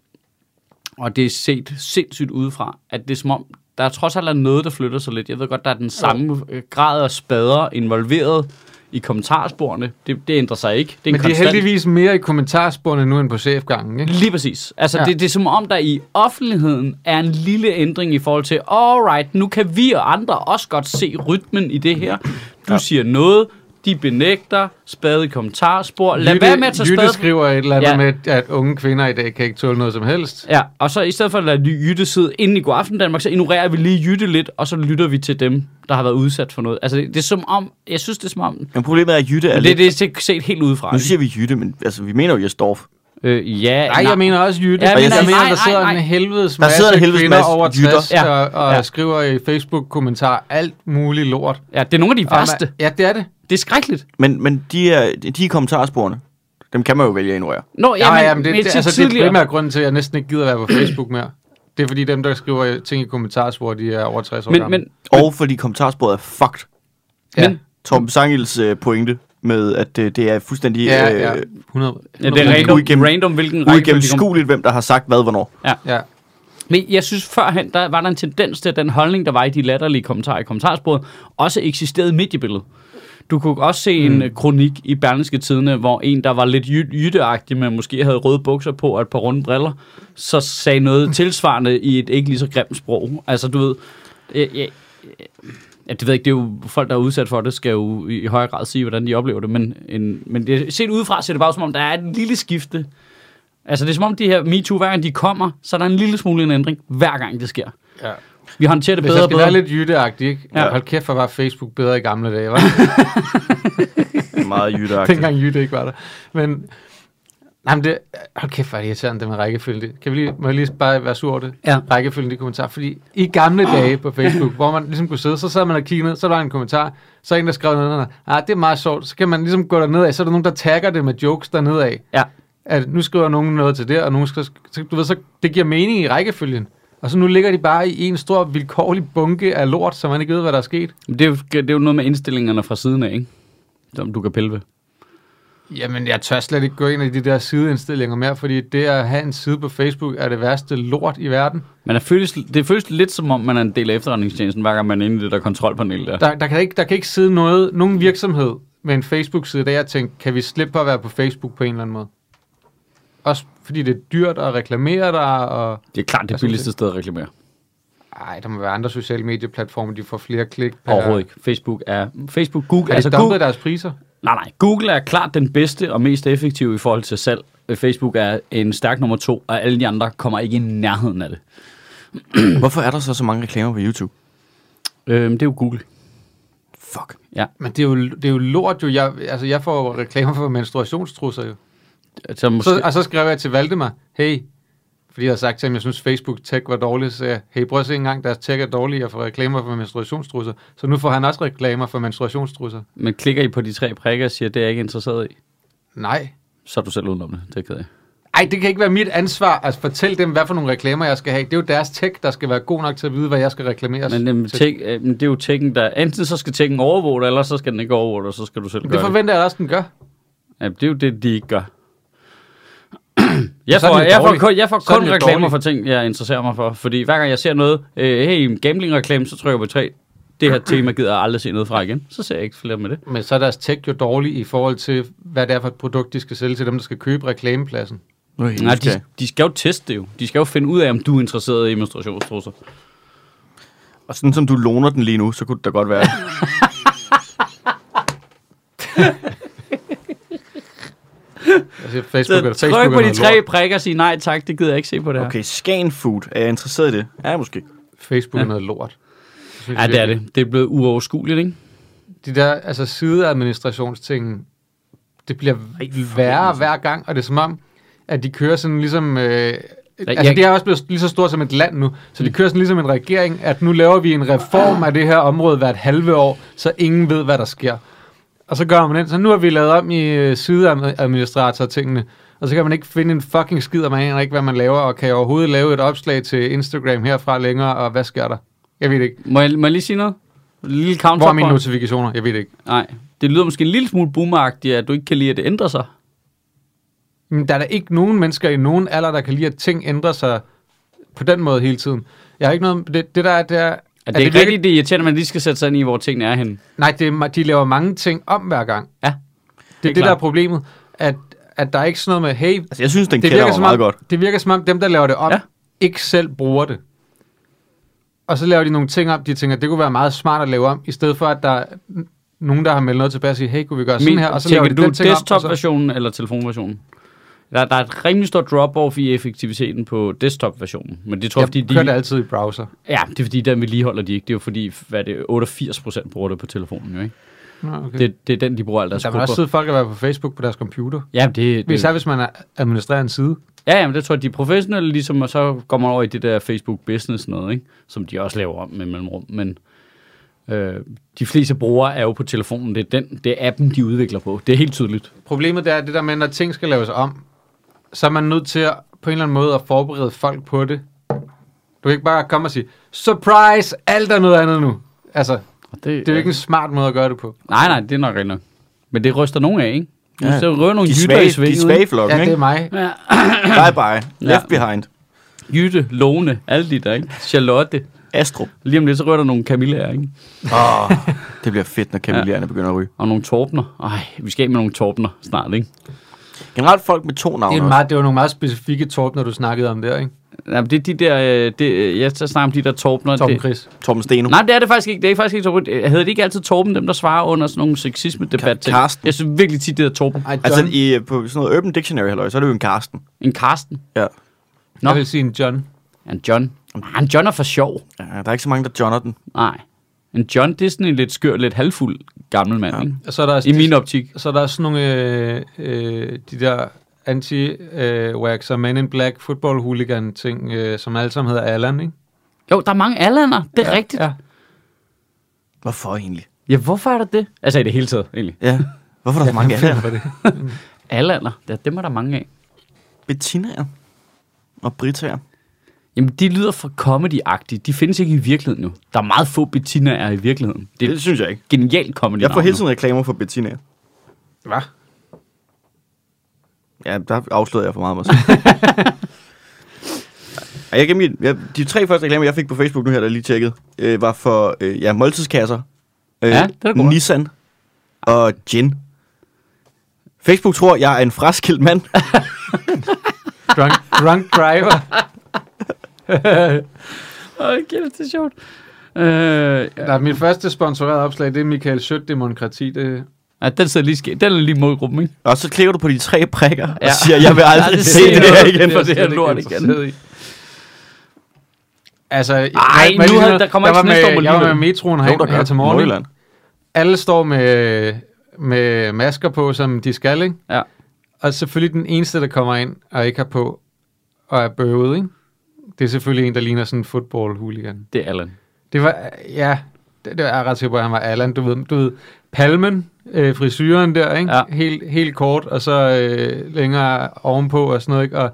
og det er set sindssygt udefra, at det er som om, der er trods alt er noget, der flytter sig lidt. Jeg ved godt, der er den samme øh, grad af spader involveret i kommentarsporene. Det, det ændrer sig ikke. Det er en
Men det er
konstant-
heldigvis mere i kommentarsporene nu end på chefgangen, ikke?
Lige præcis. Altså, ja.
Ja.
det, det er som om, der i offentligheden er en lille ændring i forhold til, alright, nu kan vi og andre også godt se rytmen i det her. Du ja. siger noget, de benægter, spade i kommentarspor. Lad være med at tage
Jytte
spade...
skriver et eller andet
Ja.
ja. med, at unge kvinder i dag kan ikke tåle noget som helst.
Ja, og så i stedet for at lade Jytte sidde inde i god aften Danmark, så ignorerer vi lige Jytte lidt, og så lytter vi til dem, der har været udsat for noget. Altså, det, det er som om... Jeg synes, det er som om...
Men problemet er, at Jytte er
Det,
lidt...
det er set helt udefra.
Nu siger vi Jytte, men altså, vi mener jo Jesdorf.
Øh, ja,
Nej, jeg mener også Jytte.
Ja,
Ja,
men
jeg,
altså-
jeg mener,
nej,
der
nej,
sidder
nej.
en helvedes
Der
masse
sidder en helvedes
kvinder
masse
over
jytter.
60,
Ja.
og, og
Ja.
ja. skriver i Facebook-kommentar alt muligt lort.
Ja, det er nogle af de
Og man-
værste.
Ja, det er det.
Det er skrækkeligt.
Men, men de, er, de er kommentarsporene. Dem kan man jo vælge at ignorere.
Nå, ja,
Ja,
men,
ja, men det,
men
det,
til
altså, det er
tidligere-
primært grunden til, at jeg næsten ikke gider være på Facebook mere. Det er fordi dem, der skriver ting i kommentarspor, de er over 60 år
men,
gamle.
men,
Og fordi kommentarsporet er fucked.
ja.
men-
Torben Sangels øh, pointe med, at øh, det er fuldstændig
ja, ja,
øh,
100.
Ja, det er
Men
random,
uigennem-
random hvilken rækkefølge de kommer.
uigennemskueligt, hvem der har sagt hvad, hvornår.
Ja.
Men jeg synes førhen, der var der en tendens til, at den holdning, der var i de latterlige kommentarer i kommentarsporet, også eksisterede i mediebilledet. Du kunne også se en øh, kronik i Berlingske Tidene, hvor en, der var lidt jy- jytteagtig, men måske havde røde bukser på og et par runde briller, så sagde noget tilsvarende i et ikke lige så grimt sprog. Altså, du ved... Jeg, jeg, Ja, det ved jeg ikke, det er jo folk, der er udsat for det, skal jo i i højere grad sige, hvordan de oplever det, men, en, men det, set udefra ser det bare ud, som om, der er et lille skifte. Altså, det er som om, de her MeToo, hver gang de kommer, så er der en lille smule en ændring, hver gang det sker.
ja.
Vi håndterer det
Hvis
bedre
jeg
og
skal være
bedre.
lidt jytteagtig, ikke?
Ja.
Ja. Hold kæft, hvor var Facebook bedre i gamle dage, var
Meget jytteagtigt.
Dengang Jytte ikke var der. Men, nej, men det, hold kæft, hvor er det irriterende, det med rækkefølge. Kan vi lige, må jeg lige bare være sur over det?
Ja.
Rækkefølgen i kommentarer. Fordi i gamle dage på Facebook, hvor man ligesom kunne sidde, så sad man og kiggede ned, så var der en kommentar, så er en, der skrev noget, noget, ah, det er meget sjovt. Så kan man ligesom gå derned af, så er der nogen, der tagger det med jokes dernede af.
Ja.
At nu skriver nogen noget til det, og nogen skriver, så, du ved, så det giver mening i rækkefølgen. Og så nu ligger de bare i en stor vilkårlig bunke af lort, så man ikke ved, hvad der er sket.
Men Det er, jo, det er jo noget med indstillingerne fra siden af, ikke? Som du kan pille ved.
Jamen, jeg tør slet ikke gå ind i de der sideindstillinger mere, fordi det at have en side på Facebook er det værste lort i verden.
Man er føles, det føles lidt som om, man er en del af efterretningstjenesten, hver gang man er inde i det der kontrolpanel der.
Der, der, kan, ikke, der kan ikke sidde noget, nogen virksomhed med en Facebook-side, der jeg tænker, kan vi slippe for at være på Facebook på en eller anden måde? Også fordi det er dyrt at reklamere der, og...
Det er klart det
synes
billigste sted at reklamere.
Ej, der må være andre sociale medieplatforme, de får flere klik per...
Overhovedet ikke. Facebook er... Facebook, Google...
Har de
altså
dumpet
Google,
deres priser?
nej, nej. Google er klart den bedste og mest effektive i forhold til salg. Øh, Facebook er en stærk nummer to, og alle de andre kommer ikke i nærheden af det.
Hvorfor er der så så mange reklamer på YouTube?
Øhm, det er jo Google.
Fuck.
Men det er jo, det er jo lort jo. Jeg, altså, jeg får jo reklamer for menstruationstrusser jo.
Så måske,
Så, og så skrev jeg til Valdemar, hey, fordi jeg havde sagt til ham, jeg synes Facebook Tech var dårlig, så sagde jeg, hey, prøv at se engang, deres tech er dårlig, og får reklamer for menstruationstrusser. Så nu får han også reklamer for menstruationstrusser.
men klikker I på de tre prikker og siger, det er jeg ikke interesseret i,
Nej.
så er du selv udenom det. Det er jeg ked af.
Ej, det kan ikke være mit ansvar at fortælle dem, hvad for nogle reklamer jeg skal have. Det er jo deres tech, der skal være god nok til at vide, hvad jeg skal reklamere.
Men, øhm,
til.
tæk, øh, men det er jo tækken, der... Enten så skal tækken overvåge dig, eller så skal den ikke overvåge dig, og så skal du selv
det
gøre det.
forventer jeg også, den gør.
Ja, det er jo det, de ikke gør. Jeg
så er
får,
den jo
jeg, får
dårlig.
kun, jeg får
Så er den
kun
jo
reklamer
dårlig.
for ting, jeg interesserer mig for. Fordi hver gang jeg ser noget, øh, hey, en gambling-reklame, så trykker jeg på tre. Det her tema gider jeg aldrig se noget fra igen. Så ser jeg ikke flere med det.
Men så er deres tech jo dårlig i forhold til, hvad det er for et produkt, de skal sælge til dem, der skal købe reklamepladsen.
Nu er jeg helt
Nej,
nysgerrig.
de, de skal jo teste det jo. De skal jo finde ud af, om du er interesseret i menstruationstrusser.
Og sådan som du låner den lige nu, så kunne det da godt være.
Altså, Facebook,
Så
er- Facebook er
tryk på de
noget
tre
lort.
prikker og sig nej tak, det gider jeg ikke se på det her.
Okay, Scan Food. Er jeg interesseret i det? Ja, måske.
Facebook er
Ja.
noget lort. synes
Ja,
jeg
det er det. Det er blevet uoverskueligt, ikke?
de der altså sideadministrationsting, det bliver værre hver gang, og det er som om, at de kører sådan ligesom... Øh, altså,
jeg-
det er også blevet lige så stort som et land nu, så de kører sådan ligesom en regering, at nu laver vi en reform af det her område hvert halve år, så ingen ved, hvad der sker. Og så gør man den, så nu har vi lavet om i øh, sideadministrator-tingene, og så kan man ikke finde en fucking skid, og man aner ikke, hvad man laver, og kan jeg overhovedet lave et opslag til Instagram herfra længere, og hvad sker der? Jeg ved det ikke.
Må jeg, må jeg lige sige noget? Lille counter
Hvor er mine notifikationer? Jeg ved det ikke.
Nej, det lyder måske en lille smule boomeragtigt, at du ikke kan lide, at det ændrer sig.
Men der er da ikke nogen mennesker i nogen alder, der kan lide, at ting ændrer sig på den måde hele tiden. Jeg har ikke noget... Det, det der er, det er...
Er det,
at
er ikke
virker-
rigtigt, det er irriterende, at man lige skal sætte sig ind i, hvor tingene er henne?
Nej, det er, ma- de laver mange ting om hver gang.
Ja,
Det er det,
klart.
der er problemet. At, at der er ikke sådan noget med, hey...
Altså, jeg synes, den
det
kender
virker,
mig
som
meget
om,
godt.
det virker som om, dem, der laver det om,
Ja.
ja. ikke selv bruger det. Og så laver de nogle ting om, de tænker, det kunne være meget smart at lave om, i stedet for, at der er n- nogen, der har meldt noget tilbage og siger, hey, kunne vi gøre sådan
Min,
her? Og så laver de
du
den ting om, og så-
desktop-versionen eller telefonversionen? Der, der er et rimelig stort drop-off i effektiviteten på desktop-versionen. Men det tror jeg, fordi
Jeg kører det
de,
altid i browser.
ja, det er fordi, den vedligeholder de ikke. Det er jo fordi, hvad er det, 88% bruger det på telefonen, jo, ikke?
Nå, okay.
Det, det er den, de bruger alt deres
Der vil også
krudt på.
sidde folk at være på Facebook på deres computer.
Ja, det, det,
Især hvis man er- administrerer en side.
ja, ja, men det tror jeg, de er professionelle, ligesom, og så går man over i det der Facebook-business noget, ikke? Som de også laver om med mellemrum, men... Øh, de fleste brugere er jo på telefonen. Det er, den, det er appen, de udvikler på. Det er helt tydeligt.
Problemet der er det der med, når ting skal laves om, så er man nødt til at, på en eller anden måde at forberede folk på det. Du kan ikke bare komme og sige, surprise, alt er noget andet nu. Altså,
Det, øh,
det er jo ikke en smart måde at gøre det på.
Nej, nej, det er nok rigtigt nok. Men det ryster nogen af, ikke? Ja.
Ja.
Så rører nogle
De
jytter i
svage, de
svinget.
svage i flokken,
Ja, det er
ikke?
mig.
Ja,
Bye bye. Left behind.
Jytte, Lone, alle de der, ikke? Charlotte.
Astro.
Lige om lidt, så rører der nogle Camilla, ikke?
Oh, det bliver fedt, når kamelierne begynder at ryge.
Og nogle Torbner. Ej, vi skal af med nogle Torbner snart, ikke?
Generelt folk med to navne.
Det, er
også.
meget, det var nogle meget specifikke torp, når du snakkede om der, ikke?
Nej, men det er de der... øh, Det, øh, jeg tager snart om de der Torbner.
Torben
det,
Chris.
Torben Steno.
nej, det er det faktisk ikke. Det er faktisk ikke Torben. Øh, Hedder det ikke altid Torben, dem der svarer under sådan nogle sexisme-debat?
Ka- Karsten.
Jeg synes virkelig tit, det hedder Torben.
Ej, John,
Altså,
altså, i...
i, på sådan noget Urban Dictionary, halløj, så er det jo en Karsten.
En Karsten.
Ja.
Nå.
jeg vil sige en John.
En John. Nej, en John er for sjov.
Ja, der er ikke så mange, der johnner den.
Nej. En John, det er sådan en lidt skør, lidt halvfuld gammel mand, ja. ikke?
Og så er der,
I min optik.
så er der sådan nogle, øh, øh, de der øh, anti-waxer, man in black, football hooligan ting, øh, som alle sammen hedder Allan, ikke?
Jo, der er mange allander, det er ja, rigtigt. Ja.
Hvorfor egentlig?
ja, hvorfor er der det? Altså i det hele taget, egentlig.
Ja. Hvorfor er der så mange af
For det.
Allander, ja, dem er der mange af.
Bettinaer og britager.
Jamen, de lyder for comedy-agtige. De findes ikke i virkeligheden nu. Der er meget få Bettinaer i virkeligheden. Det er
Det
et
synes jeg ikke.
genialt comedy
Jeg får hele tiden reklamer for Bettinaer.
Hvad?
Ja, der afslørede jeg for meget mig selv. Ej, jeg gav min, jeg, de tre første reklamer, jeg fik på Facebook nu her, der lige tjekket, øh, var for øh, ja, måltidskasser, øh,
Ja, det er da godt.
Nissan og gin. Facebook tror, jeg er en fraskilt mand.
Drunk, drunk driver.
Åh, kæft, det er sjovt. Øh,
Der er mit første sponsorerede opslag, det er Michael Schødt, Demokrati. Det,
ja, den sidder lige ske. Den er lige målgruppen, ikke?
Og så klikker du på de tre prikker ja.
Ja.
og siger, jeg vil aldrig
det
se
ser
det
jeg
her
ikke.
igen.
for det her
slet ikke
lort
interesseret i. Altså, Ej,
nu havde- der kommer
jeg
ikke sådan
var
en stor
med, Jeg var med
alligevel.
metroen
Jo, der
her, her
gør.
til morgen. ikke?
Nordjylland.
alle står med, med masker på, som de skal, ikke?
Ja.
Og selvfølgelig den eneste, der kommer ind og ikke har på, og er bøvet, ikke? Det er selvfølgelig en, der ligner sådan en football-hooligan.
Det er Allan.
Det var, ja, det, det var jeg er ret sikker på, at han var Allan. Du ved, du ved palmen, øh, frisyren der, ikke?
Ja.
Helt, helt kort, og så øh, længere ovenpå og sådan noget, ikke? Og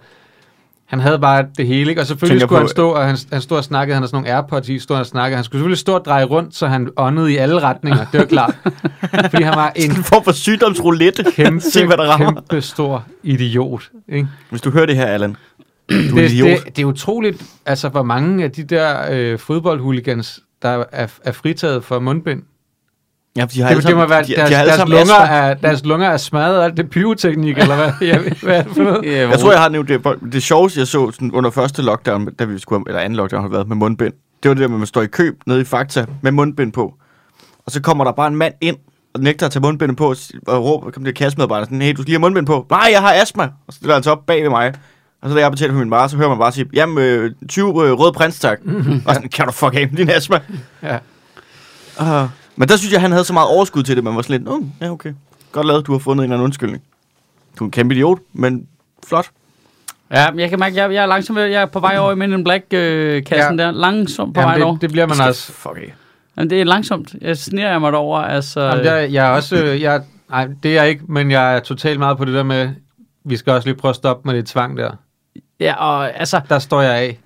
han havde bare det hele, ikke? Og selvfølgelig
Tænker
skulle
på-
han stå, og han, han stod og snakkede, han havde sådan nogle Airpods i, stod og snakkede. Han skulle selvfølgelig stå og dreje rundt, så han åndede i alle retninger, det var klart. Fordi han var en
En form for sygdomsroulette.
kæmpe,
Se, hvad der rammer.
kæmpe stor idiot, ikke?
Hvis du hører det her, Allan. Du er
det,
idiot.
Det, det er utroligt, altså hvor mange af de der øh, fodboldhooligans, der er, er fritaget for mundbind.
Ja, for de har
Det,
alle
det må
sammen,
være,
de,
de,
de har
deres,
alle
deres,
sammen
lunger
astma.
er, deres lunger er smadret af alt det pyroteknik, eller hvad? Jeg, ved- hvad er det for noget?
Yeah,
Jeg tror, jeg har nævnt det. Det sjoveste, jeg så sådan, under første lockdown, da vi skulle, eller anden lockdown har været med mundbind, det var det der med, at man står i kø nede i Fakta med mundbind på. Og så kommer der bare en mand ind, og nægter at tage mundbinden på, og s- og råber, kom det kassemedarbejder, sådan, hey, du skal lige have mundbind på. Nej, jeg har astma. Og så stiller han sig op bag ved mig. Og så da jeg betaler for min vare, så hører man bare sige, jamen, øh, 20 øh, røde prins, tak. Og sådan, kan du fuck af med din astma?
Ja.
Uh, men der synes jeg, han havde så meget overskud til det, man var sådan lidt, uh, ja, okay. Godt lavet, du har fundet en eller anden undskyldning. Du er en kæmpe idiot, men flot.
Ja, men jeg kan mærke, jeg, jeg er langsomt, jeg er på vej over i Men in Black-kassen
Ja.
ja. der. Langsomt på vej
Jamen,
over.
det, det bliver man altså.
Fuck af.
Jamen, det er langsomt. Jeg sniger jeg mig derover, altså...
Jamen, jeg, jeg er også, øh, jeg, nej, det er jeg ikke, men jeg er totalt meget på det der med, vi skal også lige prøve at stoppe med det tvang der.
Ja, og altså,
Der står jeg af.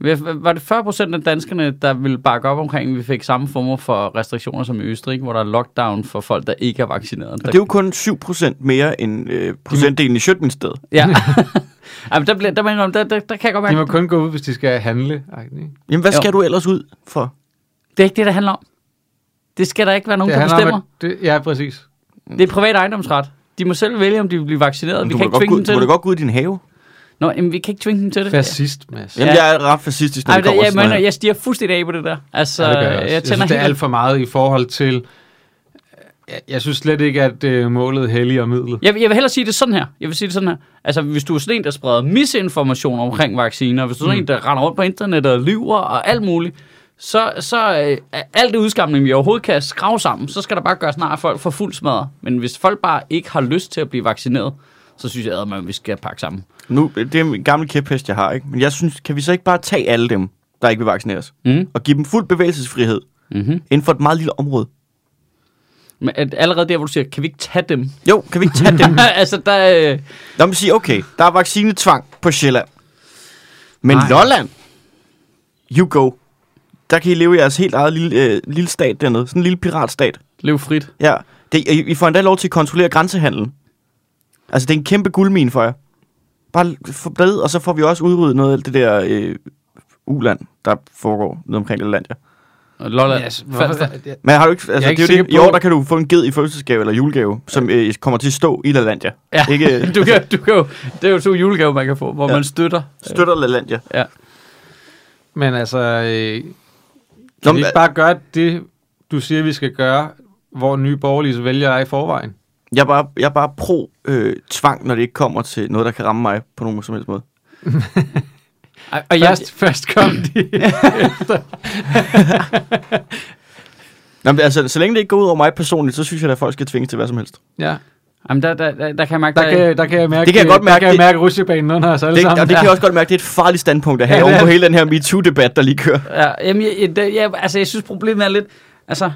hvad- var det 40 procent af danskerne, der ville bakke op omkring, at vi fik samme former for restriktioner som i Østrig, ikke? hvor der er lockdown for folk, der ikke er vaccineret?
Og det er jo kun 7% mere end øh, procentdelen i Sjøtministeriet.
Ja. Jamen, der, bliver, der, må jeg indrømme, der, der, der kan jeg godt
De
mærke,
må kun gå ud, hvis de skal handle. Ej, nej.
Jamen, hvad
Jo.
skal du ellers ud for?
det er ikke det, der handler om. Det skal der ikke være nogen,
Det
der
handler
bestemmer.
om, at det, ja, præcis.
Det er privat ejendomsret. De må selv vælge, om de vil blive vaccineret. Vi kan
Du må,
ikke
godt gå,
tvinge dem
ud-
til
du må da
det.
godt gå ud i din have.
Nå, jamen, vi kan ikke tvinge dem til det.
Fascist, Mads.
Jamen,
Ja.
jeg er ret fascistisk, når
Ej,
det
det,
kommer
jeg,
til sådan
mener,
noget.
jeg stiger fuldstændig af på det der. Altså,
Ja, det gør øh, jeg,
jeg,
også.
jeg
jeg
tænder
synes, det er alt
helt...
for meget i forhold til... Jeg, jeg synes slet ikke, at øh, målet helliger midlet.
Jeg, vil- jeg vil hellere sige det sådan her. Jeg vil sige det sådan her. Altså, hvis du er sådan en, der spreder misinformation omkring vacciner, hvis du er
Mm.
sådan en, der render rundt på internettet og lyver og alt muligt, så, så øh, er alt det udskamning, vi overhovedet kan skrave sammen, så skal der bare gøre snart folk for fuld smadret. Men hvis folk bare ikke har lyst til at blive vaccineret, så synes jeg, at vi skal pakke sammen.
Nu, det er en gammel kæphest, jeg har, ikke? Men jeg synes, kan vi så ikke bare tage alle dem, der ikke vil vaccineres,
Mhm.
Mm,
og give dem fuld bevægelsesfrihed
Mm-hmm.
inden for et meget lille område?
Men at allerede der, hvor du siger, kan vi ikke tage dem?
Jo, kan vi ikke tage
Mm.
dem?
altså, der... Øh,
Lad mig sige, okay, der er vaccinetvang på Sjælland. Men
Nej.
Nej. Lolland, you go. Der kan I leve jeres helt eget lille, øh, lille stat dernede. Sådan en lille piratstat.
lev frit.
Ja, det, I, I får endda lov til at kontrollere grænsehandlen. Altså, det er en kæmpe guldmine for jer. Bare forbred, og så får vi også udryddet noget af alt det der øh, uland, der foregår nede omkring det land, ja.
Og Lolland.
Altså,
Falster.
hvorfor- jeg-
Men har du ikke, altså,
Jeg er ikke
det er jo det, i
sikker på-
år, der kan du få en ged i fødselsgave eller julegave, som øh, kommer til at stå i Lalandia.
Ja.
Ikke, øh,
du kan, du kan jo, det er jo to julegaver, man kan få, hvor ja.
Ja.
man støtter.
støtter Lalandia.
Ja.
Men altså, øh, kan
Nå,
vi ikke
men-
bare gøre det, du siger, vi skal gøre, hvor nye borgerlige vælgere er i forvejen?
Jeg er bare, jeg er bare øh, pro-tvang, når det ikke kommer til noget, der kan ramme mig på nogen som helst måde.
Og jeg,
Først, først kom de.
Nå, men, altså, så længe det ikke går ud over mig personligt, så synes jeg, at folk skal tvinges til hvad som helst.
ja.
jamen, der, der, der, der kan jeg mærke,
Der kan, der kan jeg mærke,
Det kan jeg godt
der
mærke,
kan jeg
det-
mærke rutsjebanen under os alle
Det, og
sammen.
det kan jeg også godt mærke, det er et farligt standpunkt at have
Ja,
ja,
det
oven
er
på hele den her MeToo-debat, der lige kører.
Ja, jamen, jeg, jeg, det- jeg, altså, jeg synes, problemet er lidt... Altså,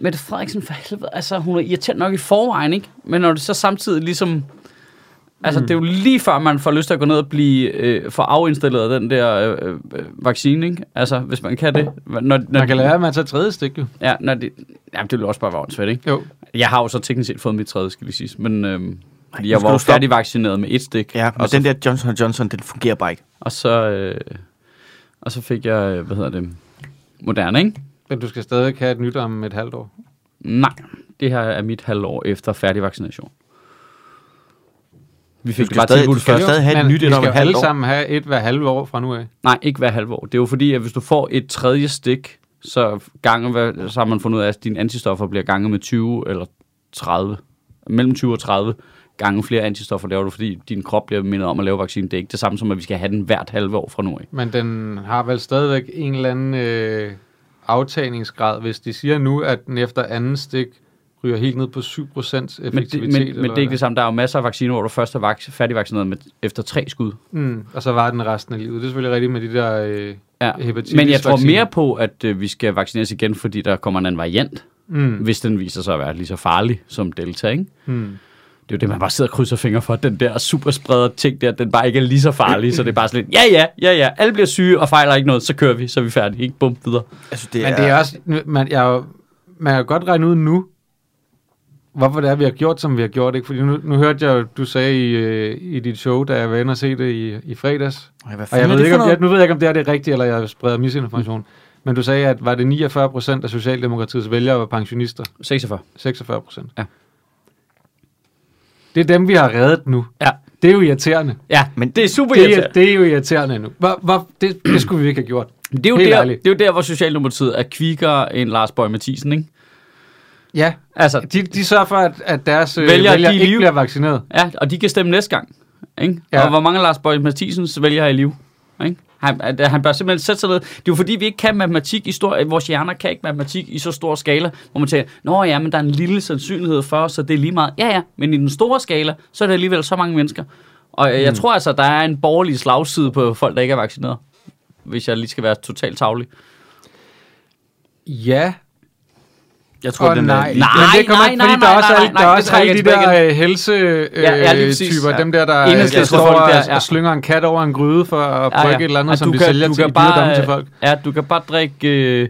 Mette Frederiksen for helvede, altså, hun er irriterende nok i forvejen, ikke? Men når det så samtidig ligesom... Altså, mm. det er jo lige før, man får lyst til at gå ned og blive øh, for afinstalleret af den der øh, øh, vaccine, ikke? Altså, hvis man kan det. Når, når
Man kan
de-
lære, at man tager tredje stik, jo.
Ja, når det, jamen, det ville også bare være åndssvagt, ikke?
Jo.
Jeg har jo så teknisk set fået mit tredje, skal lige siges, men... Øh, fordi jeg
skal
var jo
du stoppe.
færdigvaccineret med et stik.
Ja, og
og, så,
den der Johnson Johnson, den fungerer bare ikke.
og, så, øh, og så fik jeg, øh, hvad hedder det, Moderna, ikke?
Men du skal stadig have et nyt om et halvt år.
Nej, det her er mit halvår efter færdig vaccination. Vi fik
skal
det bare
stadig-
tilbudt
du skal
først.
stadig- have et
Men
nyt
vi
et om
skal
et
jo
halvt
alle
år.
sammen have et hver halve år fra nu af.
Nej, ikke hver halvår. Det er jo fordi, at hvis du får et tredje stik, så, gange, hvad- så har man fundet ud af, at dine antistoffer bliver ganget med 20 eller 30. Mellem 20 og 30 gange flere antistoffer laver du, fordi din krop bliver mindet om at lave vaccinen. Det er ikke det samme som, at vi skal have den hvert halve år fra nu af.
Men den har vel stadigvæk en eller anden øh, aftagningsgrad, hvis de siger nu, at den efter anden stik ryger helt ned på 7% effektivitet.
Men, det, men, men
eller
det er ikke det
hvad?
samme. Der er jo masser af vacciner, hvor du først er vak- færdigvaccineret med, efter tre skud.
Mm, og så var den resten af livet. Det er selvfølgelig rigtigt med de der... Øh,
Ja.
Hepatitis
Men jeg tror
vaccine.
mere på, at øh, vi skal vaccineres igen, fordi der kommer en anden variant,
mm,
hvis den viser sig at være lige så farlig som Delta, ikke?
mm.
Det er jo det, man bare sidder og krydser fingre for, at den der superspreder ting der, den bare ikke er lige så farlig, så det er bare sådan lidt, ja, ja, ja, ja, alle bliver syge og fejler ikke noget, så kører vi, så er vi færdige, ikke? Bum, videre.
Altså, det
Men det er også, man, jeg, er jo- man kan godt regne ud nu, hvorfor det er, vi har gjort, som vi har gjort. Ikke? Fordi nu, nu hørte jeg, jo, du sagde i, øh, i dit show, da jeg var inde og se det i, i fredags.
Ej, hvad
Og
fanden
jeg
er
ved
det
ikke,
for
om det,
noget?
nu ved jeg ikke, om det er det rigtige, eller jeg spreder misinformation. Mm. Men du sagde, at var det 49 procent af Socialdemokratiets vælgere var pensionister?
46.
46 procent.
Ja.
Det er dem, vi har reddet nu.
Ja.
Det er jo irriterende.
Ja, men det er super
Det er, det er jo irriterende nu. Hvor, hvor, det, det skulle vi ikke have gjort.
Det, er jo
Helt
der,
ærligt.
det er jo der, hvor Socialdemokratiet er kvikkere end Lars Bøge Mathisen, ikke?
Ja,
Altså,
De, de sørger for, at, at deres vælger,
Vælgere,
vælger
de er i
ikke
live.
bliver vaccineret.
ja, og de kan stemme næste gang, ikke?
Ja.
Ja. Og hvor mange Lars Bøge Mathisens vælger er i live, ikke? Han, at- han bør simpelthen sætte sig ned. Det er jo fordi, vi ikke kan matematik i stor... Vores hjerner kan ikke matematik i så stor skala, hvor man tænker, nå ja, men der er en lille sandsynlighed for, så det er lige meget. Ja, ja, men i den store skala, så er der alligevel så mange mennesker. Og mm. jeg tror altså, der er en borgerlig slagside på folk, der ikke er vaccineret. Hvis jeg lige skal være totalt tavlig.
Ja,
Jeg tror,
og
øh,
den
nej.
er...
Men det kommer
nej,
ikke,
nej,
fordi der
nej,
er også
nej,
alle,
nej,
der er
det
også
trækker
alle de
jeg tilbage
der øh, helse øh,
Ja, ja, lige præcis.
typer,
Ja.
dem der, der,
Enhedslisten
der står
folk
og
der, ja.
slynger en kat over en gryde for at brygge et eller andet,
At
som de sælger til,
øh,
bare, til folk.
Ja, du kan bare drikke... Øh,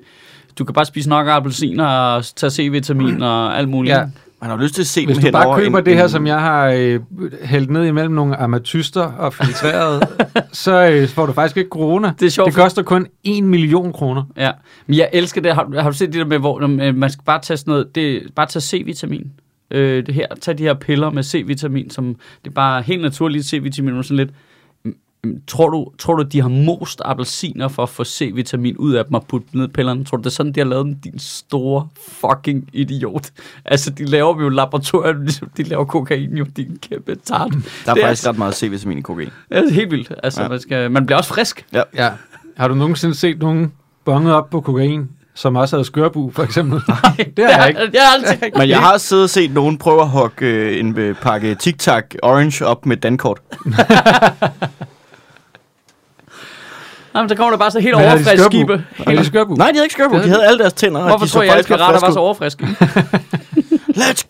du kan bare spise nok appelsiner og tage C-vitamin og alt muligt.
Ja.
Ja.
Man har jo lyst til at se
Hvis
dem
du bare
henover
køber
en-
det her,
en-
som jeg har øh, hældt ned imellem nogle amatyster og filtreret, så øh, får du faktisk ikke corona.
Det er sjovt,
Det koster kun 1 million kroner.
ja. Men jeg elsker det. Har, har du set det der med, hvor øh, man skal bare tage sådan noget... Det, bare tage C-vitamin. Øh, det her, tag de her piller med C-vitamin, som det er bare helt naturligt C-vitamin, men sådan lidt... Mm, Tror du, tror du, de har most appelsiner for at få C-vitamin ud af dem og putte dem ned i pillerne? Tror du, det er sådan, de har lavet dem? Din store fucking idiot. Altså, de laver dem jo i laboratoriet, ligesom de laver kokain jo, din kæmpe tart.
Der
Det
er
er
faktisk ret meget C-vitamin i kokain.
Ja, det er helt vildt. Altså,
Ja.
ja. man, skal, man bliver også frisk.
Ja. Har du nogensinde set nogen bonget op på kokain, som også havde skørbu, for eksempel?
Ah,
Nej, det har jeg ikke.
Det har jeg aldrig
Men jeg har siddet og set nogen prøve at hugge øh, en øh, pakke Tic Tac Orange op med dankort.
Uh.
Jamen, der kommer der bare så helt
Men har de
overfrisk
skørbu?
skibe.
Har de skørbu?
Nej, de havde ikke skørt på. De havde alle deres tænder. og
Hvorfor
de så
tror jeg, at
faktisk ret
pirater var
friske
så overfriske?
ud. Let's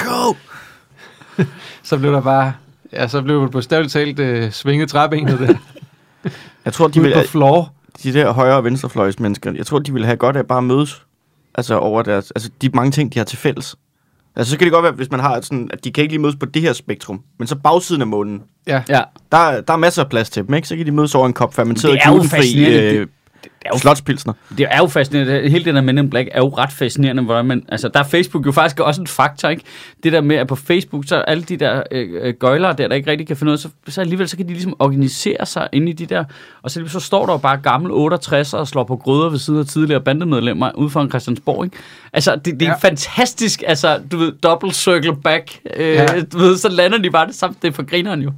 go!
Så blev der bare... Ja, så blev det på stadigt talt øh, svinget træbenet der.
Jeg tror, de
Ude
ville,
på floor.
de der højre- og venstrefløjsmennesker, jeg tror, de ville have godt af bare at mødes. Altså over deres, altså de mange ting, de har til fælles. Altså så kan det godt være, hvis man har sådan, at de kan ikke lige mødes på det her spektrum, men så bagsiden af månen,
Ja.
Ja.
der, er- der er masser af plads til dem, ikke? Så kan de mødes over en kop fermenteret
Det er jo
glutenfri
fascinerende.
øh,
Det- er jo-
slotspilsner.
Det er jo fascinerende. Hele det der Men in Black er jo ret fascinerende. Hvordan man, altså, der er Facebook jo faktisk også en faktor, ikke? Det der med, at på Facebook, så er alle de der øh, øh, gøjlere der, der ikke rigtig kan finde ud af, så, så alligevel, så kan de ligesom organisere sig inde i de der, og så, så står der jo bare gammel 68 og slår på gryder ved siden af tidligere bandemedlemmer ude foran Christiansborg, ikke? Altså, det, det er
Ja.
ja. fantastisk, altså, du ved, double circle back, øh,
Ja.
ja. du ved, så lander de bare det samt, det er for grineren jo.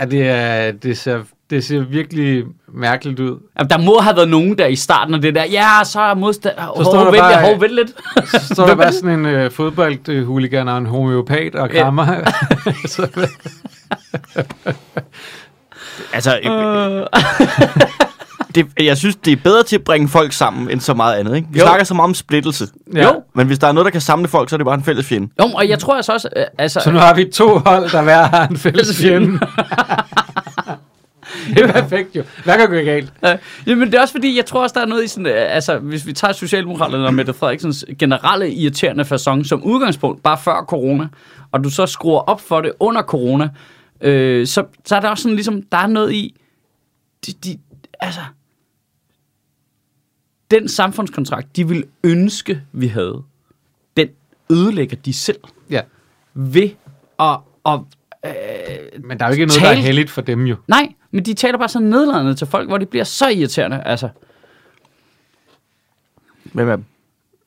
ja det, er, det ser Det ser virkelig mærkeligt ud.
Jamen, der må have været nogen der i starten af det der, ja, så er modstand... Hov,
står der
hov, vent,
bare-
bare... hov, vent lidt.
Så står der bare sådan en øh, fodboldhuligan og en homeopat og
Ja.
krammer. så,
Altså,
Øh.
det, jeg synes, det er bedre til at bringe folk sammen, end så meget andet. Ikke? Vi
Jo.
jo. snakker så meget om splittelse.
ja.
Jo.
Men hvis der er noget, der kan samle folk, så er det bare en fælles fjende.
Jo, og jeg tror altså også... øh, Altså,
Så nu har vi to hold, der hver har en fælles fjende. det er perfekt jo. Hvad kan gå galt?
Øh, jamen, det er også fordi, jeg tror også, der er noget i sådan... Øh, altså, hvis vi tager Socialdemokraterne og Mette Frederiksens generelle irriterende façon som udgangspunkt, bare før corona, og du så skruer op for det under corona, øh, så, så er der også sådan ligesom... Der er noget i... De, de, altså... Den samfundskontrakt, de ville ønske, vi havde, den ødelægger de selv
Ja,
ved at... at
men der er jo ikke noget, der er
Tal.
heldigt for dem jo.
nej, men de taler bare så nedladende til folk, hvor det bliver så irriterende, altså...
Hvem er dem?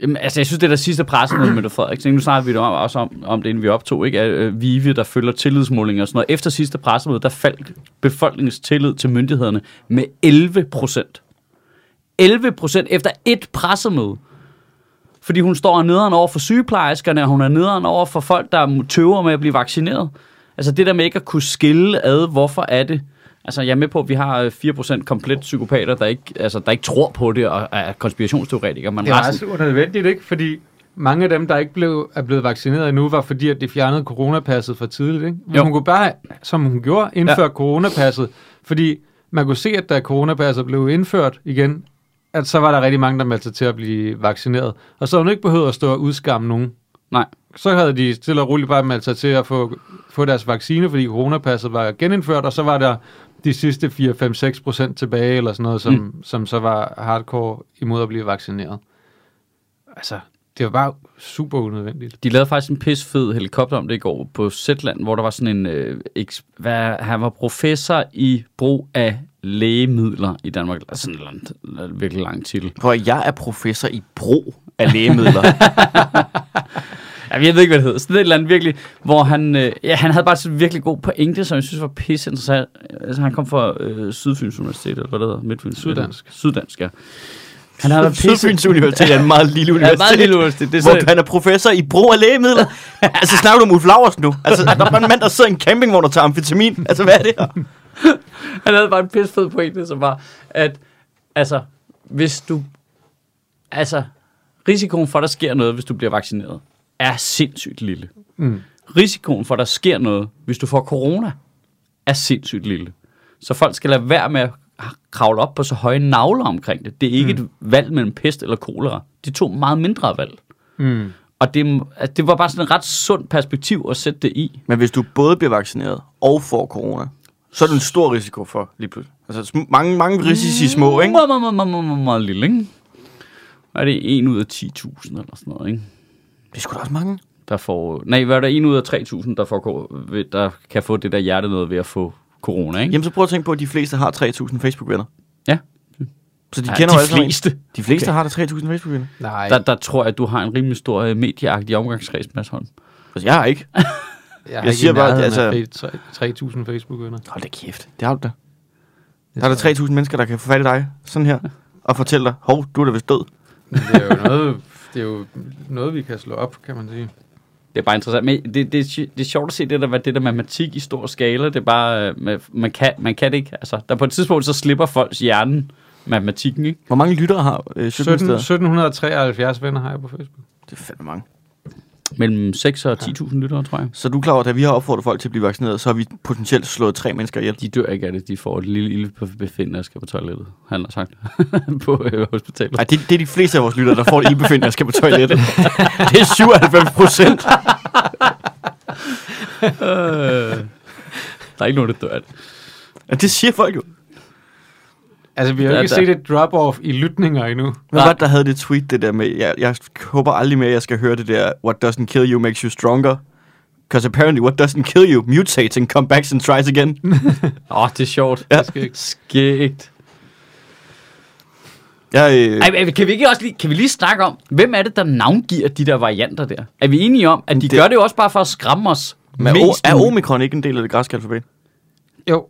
Jamen, altså, jeg synes, det er der sidste pressemøde med Mette Frederiksen. Nu snakker vi det om, også om, om det, inden vi optog, ikke? At, øh, Vive, der følger tillidsmålinger og sådan noget. Efter sidste pressemøde, der faldt befolkningens tillid til myndighederne med 11 procent. 11 procent efter et pressemøde. Fordi hun står og er nederen over for sygeplejerskerne, og hun er nederen over for folk, der tøver med at blive vaccineret. Altså det der med ikke at kunne skille ad, hvorfor er det? Altså jeg er med på, at vi har øh, 4% komplet psykopater, der ikke, altså, der ikke tror på det, og er konspirationsteoretikere. Men
Det var
resten-
også unødvendigt, ikke? Fordi mange af dem, der ikke blev, er blevet vaccineret endnu, var fordi, at de fjernede coronapasset for tidligt, ikke? Hvis
Jo.
hun kunne bare, som hun gjorde, indføre ja. coronapasset, fordi man kunne se, at da coronapasset blev indført igen, at så var der rigtig mange, der meldte sig til at blive vaccineret. Og så havde hun ikke behøvet at stå og udskamme nogen.
Nej.
så havde de stille og roligt bare meldt sig til at få, få deres vaccine, fordi coronapasset var genindført, og så var der de sidste 4-5-6 procent tilbage, eller sådan noget, som, mm. som så var hardcore imod at blive vaccineret. Altså, det var bare super unødvendigt.
De lavede faktisk en pis fed helikopter om det i går på Zetland, hvor der var sådan en... Øh, eks, hvad, han var professor i brug af lægemidler i Danmark. Eller Sådan en eller anden, virkelig lang titel.
Prøv at, jeg er professor i brug af lægemidler.
Jamen, jeg ved ikke, hvad det hedder. Sådan et eller andet virkelig, hvor han... Øh, ja, han havde bare sådan en virkelig god pointe, som jeg synes var pisse interessant. Altså, han kom fra øh, Sydfyns Universitet, eller hvad det hedder? Midtfyns?
Syddansk.
Syddansk, ja. Han havde pisse...
Sydfyns Universitet er en meget lille
Ja,
universitet.
meget lille universitet. Det er sådan,
Hvor han er professor i brug af lægemidler. altså, snakker du om Ulf Laursen nu? Altså, der er bare en mand, der sidder i en campingvogn og tager amfetamin. Altså, hvad er det her?
Han havde bare en pisse fed pointe, som var, at altså, hvis du, altså, risikoen for, at der sker noget, hvis du bliver vaccineret, er sindssygt lille.
Mm.
Risikoen for, at der sker noget, hvis du får corona, er sindssygt lille. Så folk skal lade være med at kravle op på så høje navler omkring det. Det er ikke mm. et valg mellem pest eller kolera. De to meget mindre valg.
Mm.
Og det, altså, det var bare sådan et ret sundt perspektiv at sætte det i.
Men hvis du både bliver vaccineret og får corona, så er det en stor risiko for lige pludselig. Altså, sm- mange, mange risici små, ikke?
Meget, meget, meget, meget, meget, meget, meget lille, ikke? Er det 1 ud af 10.000 eller sådan noget, ikke?
Det er sgu da også mange.
Der får... Nej, hvad er der? 1 ud af 3.000, der, får, ko- ved- der kan få det der hjertenød ved at få corona, ikke?
Jamen, så prøv at tænke på, at de fleste har 3.000 Facebook-venner.
Ja.
Så de
Ja,
kender jo
de
alle sammen en.
fleste.
De fleste
Okay.
okay. har der 3.000 Facebook-venner.
Nej,
Der, der tror jeg, at du har en rimelig stor øh, medieagtig omgangskreds, Mads Holm.
Altså, jeg har ikke.
jeg,
jeg siger bare, altså-
altså... 3.000 Facebook-venner.
Hold da kæft. Det har du da. Der er der 3.000 mennesker, der kan få fat i dig. Sådan her. Og fortælle dig, hov, du er da vist død.
Men Det er, jo noget, det er jo noget, vi kan slå op, kan man sige.
Det er bare interessant. Men det, det, er sj- det er sjovt at se det der, hvad det der matematik i stor skala. Det er bare... øh, Man, man, kan, man kan det ikke. Altså, der på et tidspunkt, så slipper folks hjernen matematikken, ikke?
Hvor mange lyttere har øh, 17
17,
steder?
1773 venner har jeg på Facebook.
Det er fandme mange.
Mellem 6 og 10.000 lyttere, tror jeg.
Så er du er klar over, at da vi har opfordret folk til at blive vaccineret, så har vi potentielt slået tre mennesker ihjel.
De dør ikke af det. De får et lille ilde på befindende og skal på toilettet. Han har sagt på øh, hospitalet.
Nej, det, det er de fleste af vores lyttere, der får et ildbefind, jeg skal på toilettet. det er 97 procent.
Øh, der er ikke nogen, der dør af det.
Ja, det siger folk jo.
Altså, vi har jo
Ja, der-
ikke set et drop-off i lytninger endnu.
Hvad
Nej.
var det, der havde det tweet, det der med, jeg, jeg håber aldrig mere, jeg skal høre det der, what doesn't kill you makes you stronger. Because apparently what doesn't kill you mutates and comebacks and tries again.
Åh, oh, det er sjovt.
Ja.
Det skal ikke.
Skægt.
Jeg, øh,
Ej, men kan vi ikke også lige, kan vi lige snakke om, hvem er det, der navngiver de der varianter der? Er vi enige om, at de det...
Det-
gør det jo også bare for at skræmme os?
men er,
mest
o- er
muligt?
omikron ikke en del af det græske alfabet?
Jo.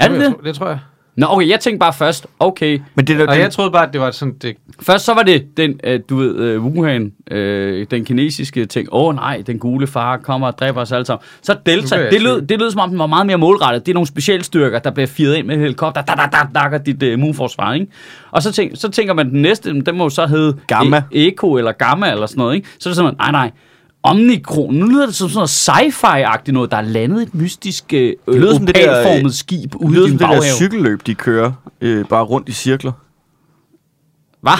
Er det
tror jeg-
det?
Det tror jeg.
Nå, okay, jeg tænkte bare først, okay,
Men det der,
Og
den,
jeg troede bare, at det var sådan, det,
Først så var det den, øh, du ved, øh, Wuhan, øh, den kinesiske ting. Åh oh, nej, den gule far kommer og dræber os alle sammen. Så
Nu
Delta,
bliver jeg
det
i
lød,
tvivl.
det lød som om, den var meget mere målrettet. Det er nogle specialstyrker, der bliver firet ind med helikopter, da, da, da, dakker dit øh, immunforsvar, ikke? Og så, tænk, så tænker man, den næste, den må jo så hedde
Gamma.
E- Eko eller Gamma eller sådan noget, ikke? Så er det sådan, nej, nej, Omnikron, nu lyder det som sådan noget sci-fi-agtigt noget, der er landet et mystisk øh,
lyder som det der, øh,
opalformet skib
det
ude
lyder
i
som
din
det der
baghave.
cykelløb, de kører øh, bare rundt i cirkler.
Hvad?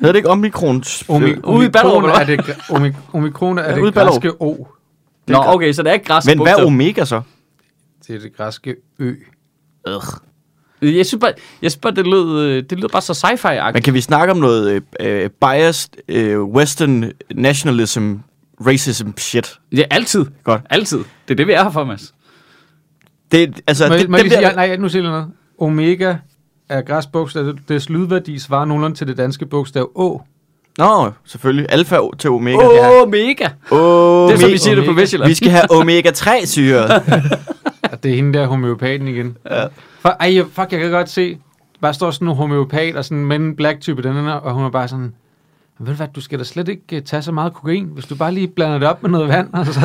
Havde det ikke Øh, Omnikrons?
omik-
Ude i Ballerup,
omikron
eller
er det, gr- omik- omikron er
ude i
det
Ballerup.
græske O.
Nå, okay, så det er ikke græsk
Men hvad er
bogstav.
Omega så?
Det er det græske Ø.
Ugh.
Jeg synes bare, jeg synes bare det, lød, øh, det lød bare så sci-fi-agtigt.
Men kan vi snakke om noget øh, øh, biased øh, western nationalism, racism shit?
Ja, altid.
Godt.
Altid. Det er det, vi er her for, Mads.
Det, altså,
Må,
det,
jeg- må jeg
dem
lige sige,
der-
ja, nej, nu siger jeg noget. Omega er græsk bogstav. Dets lydværdi svarer nogenlunde til det danske bogstav Å.
Nå, selvfølgelig. Alfa til omega.
Åh,
Oh,
oh, mega!
omega.
Det er som vi siger det på
Omega.
Vestjylland.
Vi skal have omega-3-syre.
Og det er hende der homeopaten igen. Ja. For, ej, jeg- fuck, jeg kan godt se, bare står sådan en homeopat og sådan en men in black type, den her, og hun er bare sådan, "Men ved du hvad, du skal da slet ikke øh, tage så meget kokain, hvis du bare lige blander det op med noget vand, altså,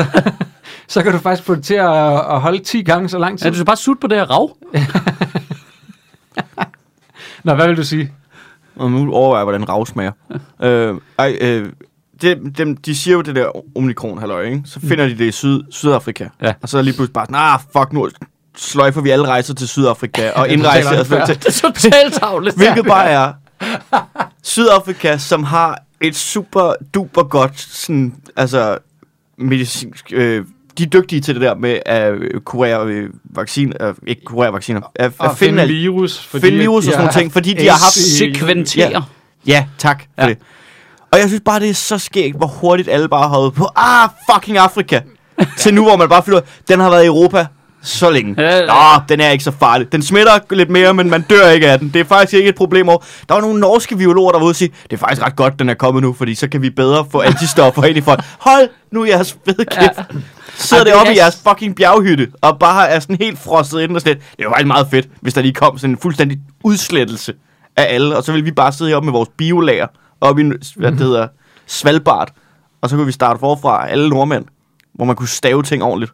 så kan du faktisk få det til at, at holde 10 gange så lang
Ja,
tid.
du skal bare sutte på det her rav.
Nå, hvad vil du sige?
Og nu overvejer jeg, hvordan rav smager. øh, ej, øh, det, dem, de siger jo det der omikron halløj, ikke? Så finder de det i syd, Sydafrika.
Ja.
Og så er lige pludselig bare sådan, ah, fuck nu, sløjfer vi alle rejser til Sydafrika og indrejser.
totalt
adfærd til-
Det er totalt tavligt.
Hvilket bare er Sydafrika, som har et super duper godt sådan, altså, medicinsk... Øh, de er dygtige til det der med at øh, kurere øh, vacciner, øh, ikke kurere vacciner, at, at
Og
finde, finde, al-
virus. fordi
finde virus
de
og sådan
har
nogle ting,
haft
fordi de har haft
AIDS i-
Sekventere.
Ja, tak for
Ja.
det. Og jeg synes bare, det er så skægt, hvor hurtigt alle bare har hoppet på, ah, fucking Afrika, til nu, hvor man bare føler, den har været i Europa så længe.
Ja, ja, ja.
Nå, den er ikke så farlig. Den smitter lidt mere, men man dør ikke af den. Det er faktisk ikke et problem over. Der var nogle norske biologer, der var ude og sige, det er faktisk ret godt, den er kommet nu, fordi så kan vi bedre få antistoffer ind i folk. Hold nu jeres fede kæft. Ja.
Ej,
Sidder det
det er
oppe i
jeg-
jeres fucking bjerghytte, og bare er sådan helt frosset ind og slet. Det var faktisk meget fedt, hvis der lige kom sådan en fuldstændig udslettelse af alle, og så ville vi bare sidde heroppe med vores biolager, oppe i, en-
Mhm.
hvad det hedder, Svalbard, og så kunne vi starte forfra, alle nordmænd, hvor man kunne stave ting ordentligt,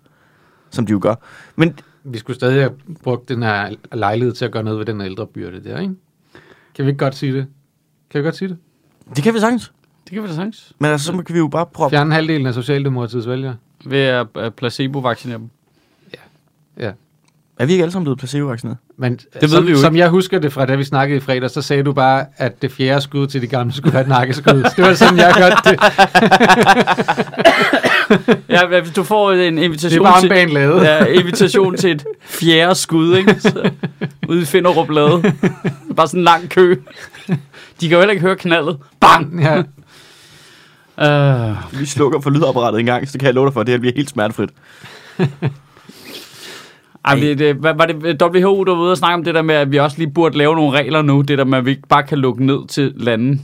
som de jo gør. Men
Vi skulle stadig have brugt den her lejlighed til at gøre noget ved den ældre byrde der, ikke? Kan vi ikke godt sige det? Kan vi godt sige det?
det kan vi sagtens.
Det kan vi da sagtens.
Men altså, så kan vi jo bare prøve...
Fjerne halvdelen af Socialdemokratiets vælgere.
Ved at øh, placebo-vaccinere dem.
Ja.
Er vi ikke alle sammen blevet placebo-vaccineret?
Men
ved
det som,
vi jo
som jeg husker det fra, da vi snakkede i fredag, så sagde du bare, at det fjerde skud til de gamle skulle være et nakkeskud. det var sådan, jeg godt det.
Ja, hvad hvis du får en
Det er
invitation
bare en
til...
bane lavet. Ja.
Ja, invitation til et fjerde skud, ikke? Så, ude i Finderup Lade. Bare sådan en lang kø. De kan jo heller ikke høre knaldet. Bang!
Ja.
Uh,
Vi slukker for lydapparatet en gang, så kan jeg love dig for, at det her bliver helt smertefrit.
Ej, det, det, hvad- var det WHO, der var ude og snakke om det der med, at vi også lige burde lave nogle regler nu, det der med, at vi ikke bare kan lukke ned til lande,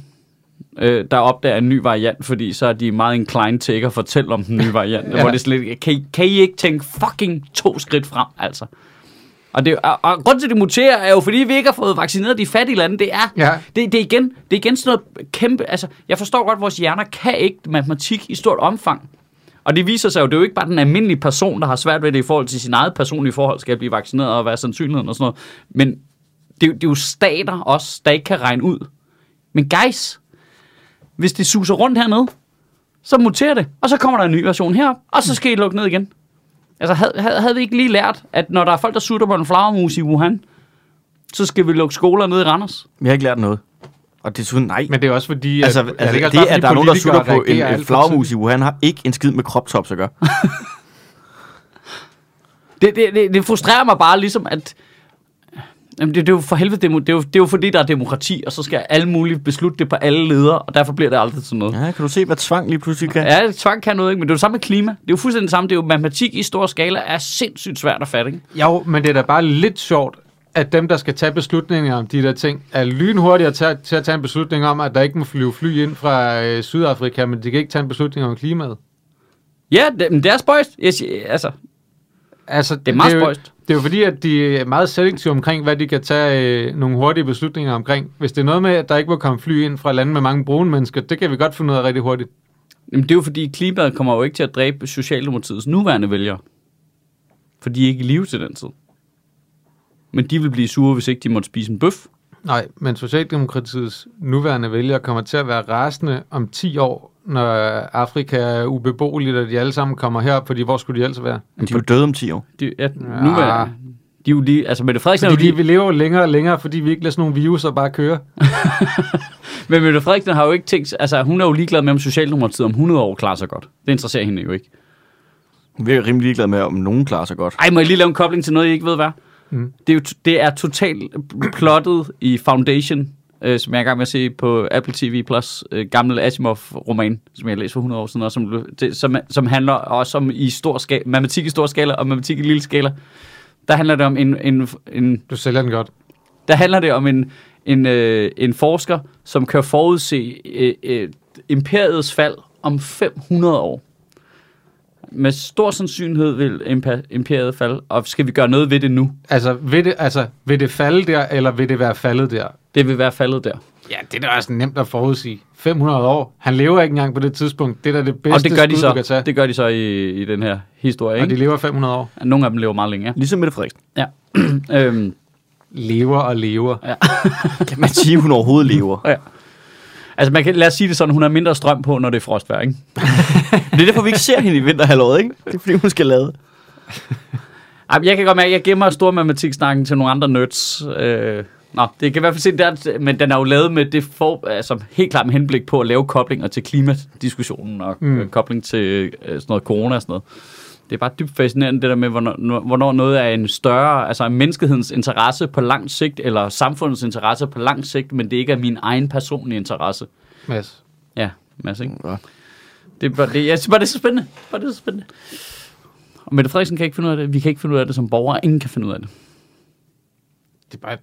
øh, der opdager en ny variant, fordi så er de meget inclined til ikke at fortælle om den nye variant. ja.
Ja.
hvor det er sådan lidt, kan, I- kan I ikke tænke fucking to skridt frem, altså? Og, det, og, og grunden til, at det muterer, er jo, fordi vi ikke har fået vaccineret de fattige lande. Det er,
Ja.
det, det er, igen, det er igen sådan noget kæmpe... Altså, jeg forstår godt, at vores hjerner kan ikke matematik i stort omfang. Og det viser sig jo, det er jo ikke bare den almindelige person, der har svært ved det i forhold til sin eget personlige forhold, skal jeg blive vaccineret og hvad er sandsynligheden og sådan noget. Men det, er jo- det er jo stater også, der ikke kan regne ud. Men guys, hvis det suser rundt hernede, så muterer det, og så kommer der en ny version herop, og så skal I lukke ned igen. Altså, havde, havde, havde vi ikke lige lært, at når der er folk, der sutter på en flagermus i Wuhan, så skal vi lukke skoler ned i Randers?
Vi har ikke lært noget. Og desuden, nej.
Men det er også fordi, at,
altså,
er
altså det,
ikke også
det
bare
at der er
fordi
nogen, der
politikere
sutter på en,
reagerer alt
en
for
flagmus i Wuhan, har ikke en skid med crop tops at gøre.
Det, det, det, det frustrerer mig bare ligesom, at... Jamen, det, det er jo for helvede, demo, det, er jo, det er jo fordi, der er demokrati, og så skal alle mulige beslutte det på alle ledere, og derfor bliver det aldrig til noget.
Ja, kan du se, hvad tvang lige pludselig kan?
Ja, tvang kan noget, ikke? men det er jo det samme med klima. Det er jo fuldstændig det samme. Det er jo matematik i stor skala er sindssygt svært at fatte, ikke?
sådan- Jo, men det er da bare lidt sjovt, at dem, der skal tage beslutninger om de der ting, er lynhurtigere til, at- til at tage en beslutning om, at der ikke må flyve fly ind fra øh, Sydafrika, men de kan ikke tage en beslutning om klimaet.
Ja, det, men det er spøjst. Jeg, siger- altså,
altså,
Det er meget
jo-
spøjst.
Det er jo fordi, at de er meget selektive omkring, hvad de kan tage øh, nogle hurtige beslutninger omkring. Hvis det er noget med, at der ikke må komme fly ind fra lande med mange brune mennesker, det kan vi godt finde ud af rigtig hurtigt.
Jamen, det er jo fordi, klimaet kommer jo ikke til at dræbe Socialdemokratiets nuværende vælgere. For de er ikke i live til den tid. Men de vil blive sure, hvis ikke de måtte spise en bøf.
Nej, men Socialdemokratiets nuværende vælgere kommer til at være rasende om 10 år, når Afrika er ubeboeligt, og de alle sammen kommer herop, fordi hvor skulle de ellers være?
De er jo døde om 10 år.
De, ja, nuværende. De er jo lige, altså Mette Frederiksen, er jo
Fordi de,
lige,
vi lever jo længere og længere, fordi vi ikke lader sådan nogle virus og bare køre.
men Mette Frederiksen har jo ikke tænkt, altså hun er jo ligeglad med, om Socialdemokratiet om 100 år klarer sig godt. Det interesserer hende jo ikke.
Vi er rimelig ligeglade med, om nogen klarer sig godt.
Ej, må jeg lige lave en kobling til noget, I ikke ved hvad?
Mm.
Mm. Det, er jo to- det er totalt plottet i Foundation, øh, som jeg er i gang med at se på Apple TV+, Plus, øh, gammel Asimov-roman, som jeg læste for 100 år siden, og som, blev- det, som, som handler også om i stor skala, matematik i stor skala og matematik i lille skala. Der handler det om en, en, en
Du sælger den godt.
der handler det om en, en, øh, en forsker, som kan forudse øh, øh, imperiets fald om 500 år. Med stor sandsynlighed vil impa- imperiet falde, og skal vi gøre noget ved det nu?
Altså vil, det, altså, vil det falde der, eller vil det være faldet der?
Det vil være faldet der.
Ja, det er da også nemt at forudsige. 500 år. Han lever ikke engang på det tidspunkt. Det er da det bedste
og det gør de
skud, du kan
så,
tage.
det gør de så i, i den her historie.
Og de
Ikke?
lever 500 år.
Nogle af dem lever meget længe.
Ligesom Mette Frederiksen.
Ja. ja. øhm,
Lever og lever.
Kan man sige, hun overhovedet lever?
ja. Altså man kan, lad os sige det sådan, hun har mindre strøm på, når det er frostvejr. Ikke?
Det er derfor, vi ikke ser hende i vinterhalvåret, ikke? Det er fordi, hun skal lade.
Ej, men jeg kan godt mærke, at jeg gemmer stor matematiksnakken til nogle andre nerds. Øh, nå, det kan i hvert fald se, der, men den er jo lavet med det for, altså, helt klart med henblik på at lave koblinger til klimadiskussionen og
Mm.
mm. øh, kobling til øh, sådan noget corona og sådan noget. Det er bare dybt fascinerende, det der med, hvornår, hvornår noget er en større, altså menneskehedens interesse på lang sigt, eller samfundets interesse på lang sigt, men det ikke er min egen personlige interesse.
Mads.
Ja, Mads, ikke?
Ja.
Det er bare, det, jeg synes bare, det er så spændende. Bare det er så spændende. Og Mette Frederiksen kan ikke finde ud af det. Vi kan ikke finde ud af det som borgere. Ingen kan finde ud af det.
Det er bare...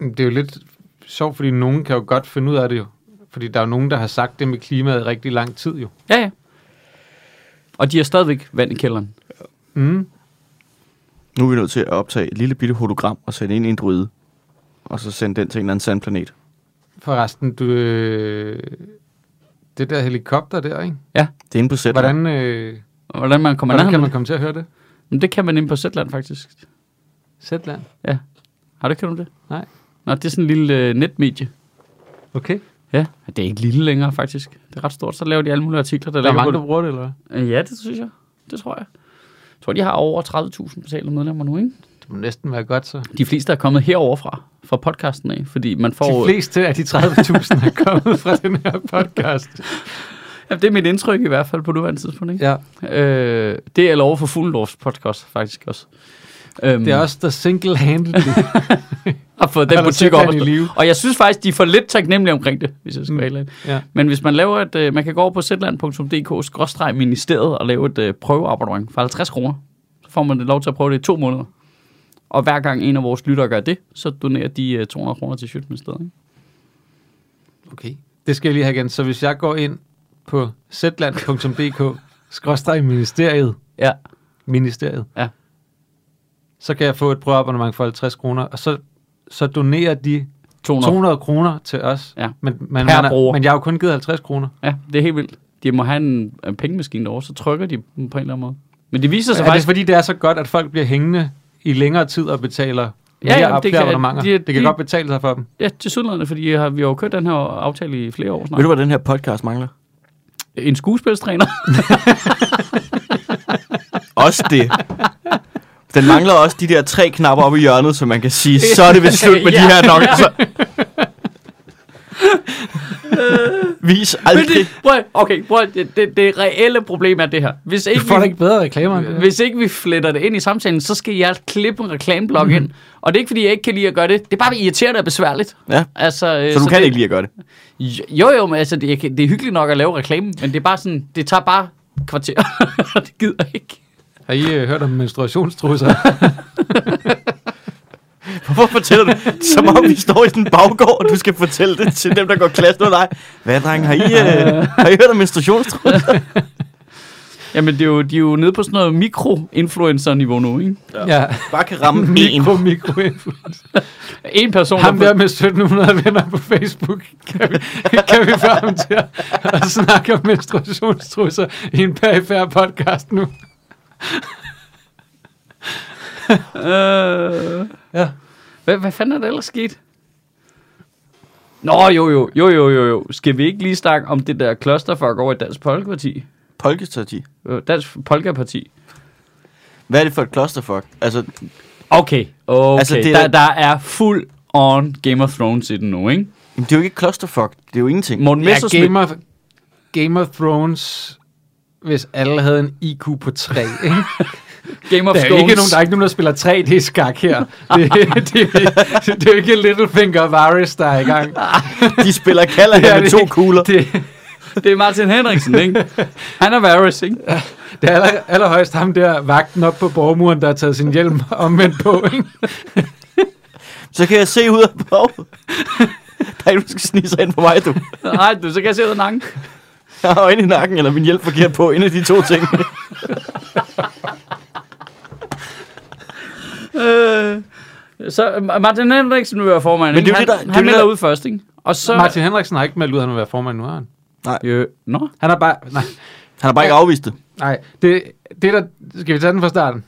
Mm, Det er jo lidt sjovt, fordi nogen kan jo godt finde ud af det jo. Fordi der er jo nogen, der har sagt det med klimaet i rigtig lang tid jo.
Ja, ja. Og de har stadigvæk vand i kælderen.
Mm.
Nu er vi nødt til at optage et lille bitte hologram og sende ind i en druide. Og så sende den til en eller anden sand planet.
Forresten, du... Øh... Det der helikopter der, ikke?
Det er inde på sæt.
Hvordan, øh...
Hvordan man kommer
Hvordan
nærmere.
kan man
Man...
komme til at høre det?
Men det kan man inde på Zetland, faktisk.
Zetland.
Har du ikke hørt om det?
Nej.
Nå, det er sådan en lille øh, netmedie.
Okay.
Ja, det er ikke lille længere, faktisk. Det er ret stort. Så laver de alle mulige artikler, der,
Der er
ligger
mange,
på
der bruger det, eller hvad?
det. Øh, Ja, det synes jeg. Det tror jeg. Jeg tror, de har over 30.000 betalte medlemmer nu, ikke?
Det må næsten være godt, så.
De fleste er kommet heroverfra, fra podcasten af, fordi man får... øh,
De fleste af de 30.000 er kommet fra den her podcast.
Ja, det er mit indtryk i hvert fald på nuværende tidspunkt, ikke?
Ja.
Ja. Øh, det er lov for Fuglendorfs podcast, faktisk også. Øhm,
Det er også der single handle.
har fået den
Eller
butik
sætte
op.
den
at
i
stå.
live.
Og jeg synes faktisk, de er for lidt taknemmelige omkring det, hvis jeg skal
Mm.
være helt ærlig.
ja.
Men hvis man laver et, øh, man kan gå over på zland.dk-ministeriet og lave et øh, prøveabonnement for 50 kroner. Så får man det lov til at prøve det i to måneder. Og hver gang en af vores lyttere gør det, så donerer de øh, 200 kroner til Sjøtministeriet. ikke?
Okay. Det skal jeg lige have igen. Så hvis jeg går ind på zland.dk skråstreg ministeriet,
Ja,
ministeriet,
Ja.
så kan jeg få et prøveabonnement for 50 kroner, og så, så donerer de
200.
200 kroner til os.
Ja.
Men, men, man
bruger.
er, men jeg har jo kun givet 50 kroner.
Ja, det er helt vildt. De må have en, en pengemaskine derovre, så trykker de dem på en eller anden måde. Men det viser sig
Er det
faktisk...
fordi, det er så godt, at folk bliver hængende i længere tid og betaler mere
ja,
ja,
men
ja,
det
det
kan-
kan, abonnementer?
de-
Det, kan
de-
godt betale sig for dem.
Ja, til sydlandet, fordi jeg har, vi har jo kørt den her aftale i flere år
Ved
snart.
du, hvad den her podcast mangler?
En skuespilstræner.
Også det. Den mangler også de der tre knapper oppe i hjørnet, så man kan sige, så er det ved slut med
Ja.
de her nok. Så... Vis
Men
aldrig.
det, prøv, at- okay, prøv, at- det, det, det reelle problem er det her. Hvis
Du
ikke,
får da
vi, øh,
ikke bedre reklamer end det. der.
hvis ikke vi fletter det ind i samtalen, så skal jeg klippe en reklameblok mm. ind. Og det er ikke, fordi jeg ikke kan lide at gøre det. Det er bare irriterende og besværligt.
Ja.
Altså,
Så du kan ikke lige at gøre det.
lide? Jo, jo, men altså, det, jeg kan- det er hyggeligt nok at lave reklame, men det er bare sådan, det tager bare kvarter. det gider jeg ikke.
Har I øh, hørt om menstruationstrusser?
Hvorfor fortæller du? Som om vi står i sådan en baggård, og du skal fortælle det til dem, der går klasse med dig. Hvad, drenge, har I, øh, har I hørt om menstruationstrusser?
Jamen, det er jo, de er jo nede på sådan noget mikro-influencer-niveau nu, ikke?
Ja.
Bare kan ramme en.
Mikro, mikro
En person,
Ham
der...
der med 1700 venner på Facebook, kan vi, kan vi få ham til at, at snakke om menstruationstrusser i en perifær podcast nu?
Øh,
Ja.
hvad, hvad fanden er der ellers sket? Nå, jo, jo, jo, jo, jo, jo. Skal vi ikke lige snakke om det der clusterfuck over i Dansk Folkeparti?
Polkestati.
Øh, Dansk Polkaparti?
Hvad er det for et clusterfuck? Altså,
Okay, okay.
Altså,
Altså,
det er-
der, der er fuld on Game of Thrones i den nu, ikke?
men det er jo ikke et clusterfuck. Det er jo ingenting.
Morten
Ja,
Messersmith...
Game of, Game of Thrones, hvis alle havde en IQ på 3, ikke?
Game of
Der er, jo
Thrones.
ikke nogen, der er ikke nogen, der spiller 3D-skak her. Det, det, det, det er jo ikke Littlefinger og Varys, der er i gang.
De spiller kalder
Det er
her med
det
to
ikke.
kugler.
Det,
Det er Martin Henriksen, ikke? Han er Varys, ikke?
det er aller, allerhøjst ham der, vagten op på borgmuren, der har taget sin hjelm omvendt på. Ikke?
Så kan jeg se ud af baget. Der er ikke, du skal snige sig ind på mig, du.
Nej, du, så kan jeg se ud af nakken.
Jeg har øjne i nakken, eller min hjælp forkert på. En af de to ting.
Øh, så Martin Henriksen vil være formand,
Men det er
ikke?
jo det,
han,
der- det er
han
jo det,
melder
der-
ud først, ikke? Og så...
Martin Henriksen har ikke meldt ud, at han vil være formand nu, har han?
Øh, nå?
Han har bare... Nej,
Han har bare ikke afvist det.
nej det, det der... Skal vi tage den fra starten?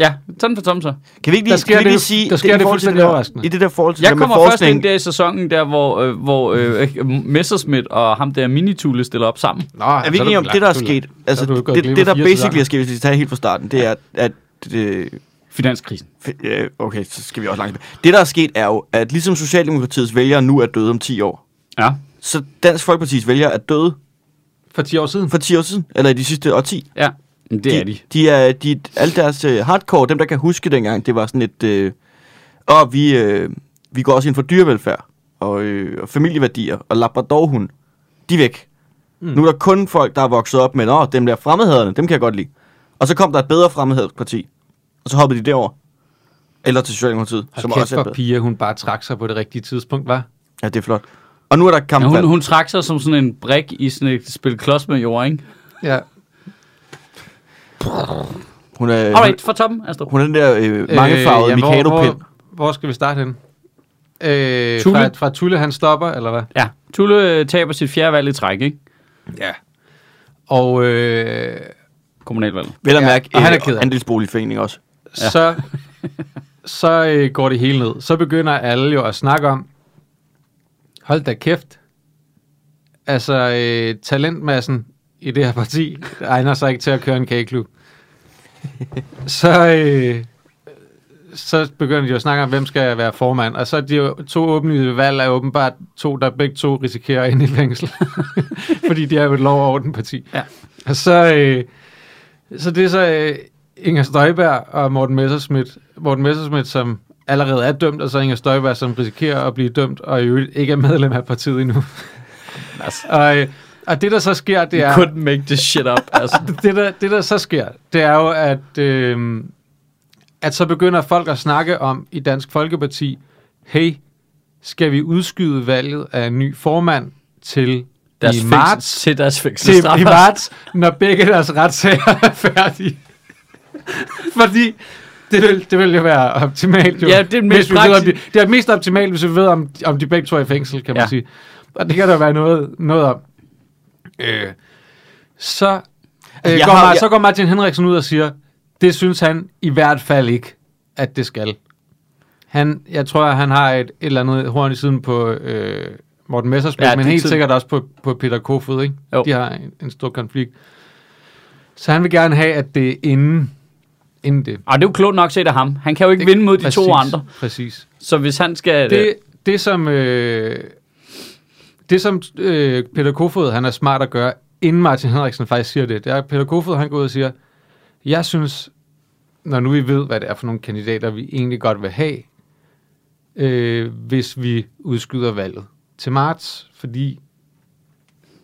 Ja, sådan for Tom så.
Kan vi ikke
Der
lige, kan
sker
vi ikke
det-
lige sige...
der sker
i
det
forhold til
fuldstændig
der-
overraskende.
I det der forhold til
Jeg
det der
kommer
med
først ind
forskning.
der i sæsonen, der hvor, øh, hvor øh, Messerschmidt og ham der Minitule stiller op sammen.
Nå,
Er vi ikke enige om det, der er sket? Altså,
du gået
det,
glip af
det, der
fire
basically
sæsoner.
er sket, hvis vi tager helt fra starten, det er, at... øh,
Finanskrisen.
f- øh, Okay, så skal vi også langt tilbage. Det, der er sket, er jo, at ligesom Socialdemokratiets vælgere nu er døde om 10 år,
Ja.
så Dansk Folkepartis vælgere er døde
For 10 år siden.
for 10 år siden, eller i de sidste årti.
Ja, Men det er de.
De er, de, alle deres øh, hardcore, dem der kan huske dengang, det var sådan et, øh, og vi, øh, vi går også ind for dyrevelfærd, og, øh, og familieværdier, og labradorhund, de er væk. Mm. Nu er der kun folk, der er vokset op med, åh, dem der fremmedhaderne, dem kan jeg godt lide. Og så kom der et bedre fremmedhadsparti, og så hoppede de derover. Eller til Socialdemokratiet,
Hold
som
kæft
også er
for
bedre.
piger, hun bare trak sig på det rigtige tidspunkt, var.
Ja, det er flot. Og nu er der
Ja,
kampvalg.
hun, hun trak sig som sådan en brik i sådan et spil klods med jord, ikke?
Ja.
hun, er, hun,
Alright, for Tom, Astrup.
hun er den der øh, mangefarvede øh,
ja, hvor-
Mikado-pind.
Hvor, hvor skal vi starte henne? Øh,
Tulle?
Fra, fra Tulle, han stopper, eller hvad?
Ja, Tulle øh, taber sit fjerde valg i træk, ikke?
Ja. Og øh,
Kommunalvalget.
Vel at
Ja,
mærke,
og han er
øh,
ked af det.
andelsboligforening også.
så, så øh, går det hele ned. Så begynder alle jo at snakke om, hold da kæft, altså øh, talentmassen i det her parti egner sig ikke til at køre en kageklub. Så, øh, så begynder de jo at snakke om, hvem skal være formand. Og så er de jo to åbenlyse valg er åbenbart to, der begge to risikerer ind i fængsel. Fordi de er jo et lov- og ordenparti.
Ja.
Og så, øh, så det er så øh, Inger Støjberg og Morten Messerschmidt. Morten Messerschmidt, som allerede er dømt, og så Inger Støjberg, som risikerer at blive dømt, og i øvrigt ikke er medlem af partiet endnu.
Altså.
og, øh, og det, der så sker, det er...
You couldn't make this shit up, altså.
det, der, det, der så sker, det er jo, at, øh, at så begynder folk at snakke om i Dansk Folkeparti, hey, skal vi udskyde valget af en ny formand til
Deres
i
fængsel-
marts?
Til deres
Til
fængsel.
i marts, når begge deres retssager er færdige. Fordi det vil, det vil jo være optimalt, jo.
Ja, det er mest
hvis vi ved, om de,
praktisk.
det er mest optimalt, hvis vi ved, om, om de begge to er i fængsel, kan man
Ja.
ja. sige. Og det kan der være noget, noget om. Øh. Så, øh,
jeg
går
har-
har,
jeg-
så går Martin Henriksen ud og siger, det synes han i hvert fald ikke, at det skal. Han, jeg tror, han har et, et eller andet horn i siden på øh, Morten Messersmith,
Ja,
ja, men
det er
helt
tid-
sikkert også på, på Peter Kofod, ikke?
Jo.
De har en, en stor konflikt. Så han vil gerne have, at det er inden, inden det.
Og det er jo klogt nok set af ham. Han kan jo ikke vinde mod de
Præcis,
to andre.
Præcis.
Så hvis han skal...
Det, det som, øh, det, som øh, Peter Kofod han er smart at gøre, inden Martin Henriksen faktisk siger det, det er, at Peter Kofod han går ud og siger, jeg synes, når nu vi ved, hvad det er for nogle kandidater, vi egentlig godt vil have, øh, hvis vi udskyder valget til marts, fordi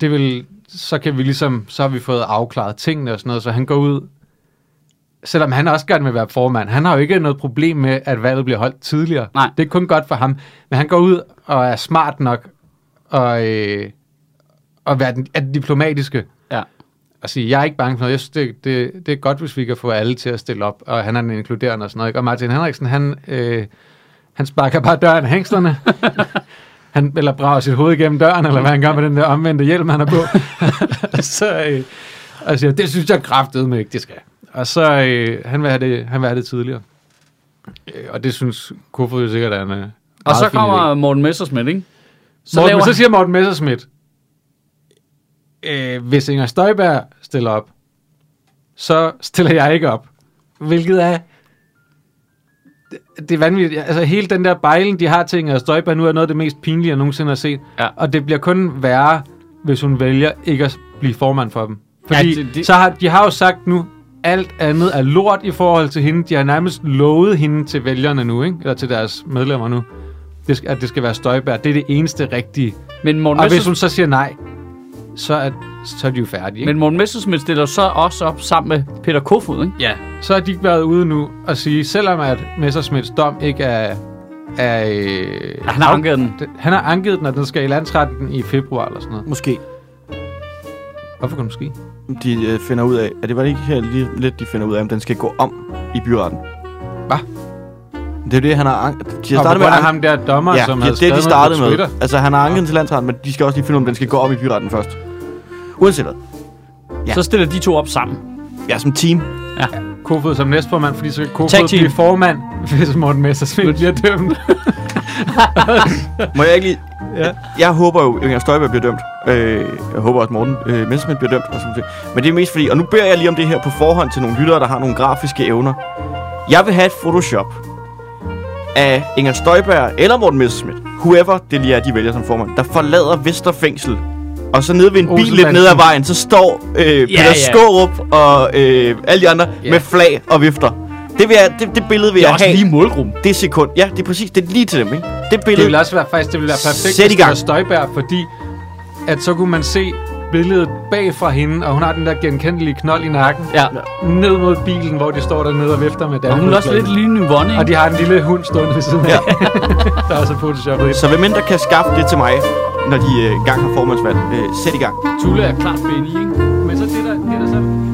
det vil, så kan vi ligesom, så har vi fået afklaret tingene og sådan noget, så han går ud, selvom han også gerne vil være formand, han har jo ikke noget problem med, at valget bliver holdt tidligere.
Nej.
Det er kun godt for ham, men han går ud og er smart nok og, øh, og være den, er den diplomatiske
Ja.
at sige, jeg er ikke bange for noget. Jeg synes, det, det, det er godt, hvis vi kan få alle til at stille op, og han er den inkluderende og sådan noget. Ikke? Og Martin Henriksen, han, øh, han sparker bare døren af hængslerne. han, eller brager sit hoved igennem døren, eller hvad han gør med den der omvendte hjelm, han har på. og så, øh, og siger, det synes jeg kraftedeme med ikke, det skal. Og så, øh, han, vil have det, han vil have det tidligere. Øh, og det synes Kofod jo sikkert er en øh, meget
Og så
fin idé.
kommer Morten Messersmith, ikke?
Så, Morten, så siger Morten Messerschmidt, øh, hvis Inger Støjberg stiller op, så stiller jeg ikke op. Hvilket er... Det, det er vanvittigt. Altså hele den der bejlen, de har til Inger Støjberg, nu er noget af det mest pinlige, jeg nogensinde har set.
Ja.
Og det bliver kun værre, hvis hun vælger ikke at blive formand for dem. Fordi ja,
det-
det,
det-
det... så har, de har jo sagt nu, alt andet er lort i forhold til hende. De har nærmest lovet hende til vælgerne nu, ikke? eller til deres medlemmer nu, det, skal- at det skal være Støjberg. Det er det eneste rigtige.
Men Morten,
Og hvis
Messer,
hun så siger nej, så er, så er de jo færdige. Ikke?
men Morten Messersmith stiller så også op sammen med Peter Kofod, ikke?
ja. Så har de ikke været ude nu og sige, selvom at Messersmiths dom ikke er... er øh,
Han har anket den.
den- han har anket den, og den skal i landsretten i februar eller sådan noget.
Måske.
Hvorfor kan du ske?
De øh, finder ud af, at det var det ikke her lige lidt, de finder ud af, om den skal gå om i byretten.
Hvad?
Det er jo det, han har... an- De
Jeg
har
startede
startet
med
med... at
ham der dommer,
ja,
som
som
havde
det er det, de
skrevet noget på
startede med.
Twitter.
Altså, han har anket den til landsretten, men de skal også lige finde ud af, om den skal gå op i byretten først. Uanset hvad. Ja.
Så stiller de to op sammen.
Ja, som team.
Kofod som næstformand, fordi så kan
Tag
Kofod
team.
blive formand, hvis Morten Messersmith bliver dømt.
Må jeg ikke lige...
Ja.
Jeg håber jo, at Inger Støjberg bliver dømt. Øh, jeg håber også, Morten øh, Messerschmidt bliver dømt. Og sådan noget. Men det er mest fordi... Og nu beder jeg lige om det her på forhånd til nogle lyttere, der har nogle grafiske evner. Jeg vil have et Photoshop af Inger Støjberg eller Morten Messerschmidt. Whoever det lige er, de vælger som formand. Der forlader Vesterfængsel. Og så nede ved en bil lidt
Olsenbanden.
ned ad vejen, så står øh, Peter
ja.
Skårup og øh, alle de andre
Ja.
med flag og vifter. Det, vil jeg, det, det billede vil
Det er
jeg
også
have.
lige målgruppen.
Det sekund. Ja, det er præcis. Det er lige til dem, ikke? Det billede.
Det ville også være, faktisk, det ville være perfekt,
Sæt i
hvis det var
gang.
Støjberg, fordi at så kunne man se billedet bag fra hende, og hun har den der genkendelige knold i nakken,
Ja.
ned mod bilen, hvor de står dernede og vifter med
Og hun er også
Dannebrogsflaget.
lidt lige Yvonne,
Og
ikke?
de har en lille hund stående ved siden af,
Ja.
ja. der er så photoshoppet ind.
Så hvem end der kan skaffe det til mig, når de øh, engang har formandsvalg, øh, sæt i gang.
Tulle er klart Benny, ikke?
Men så det der, det der så...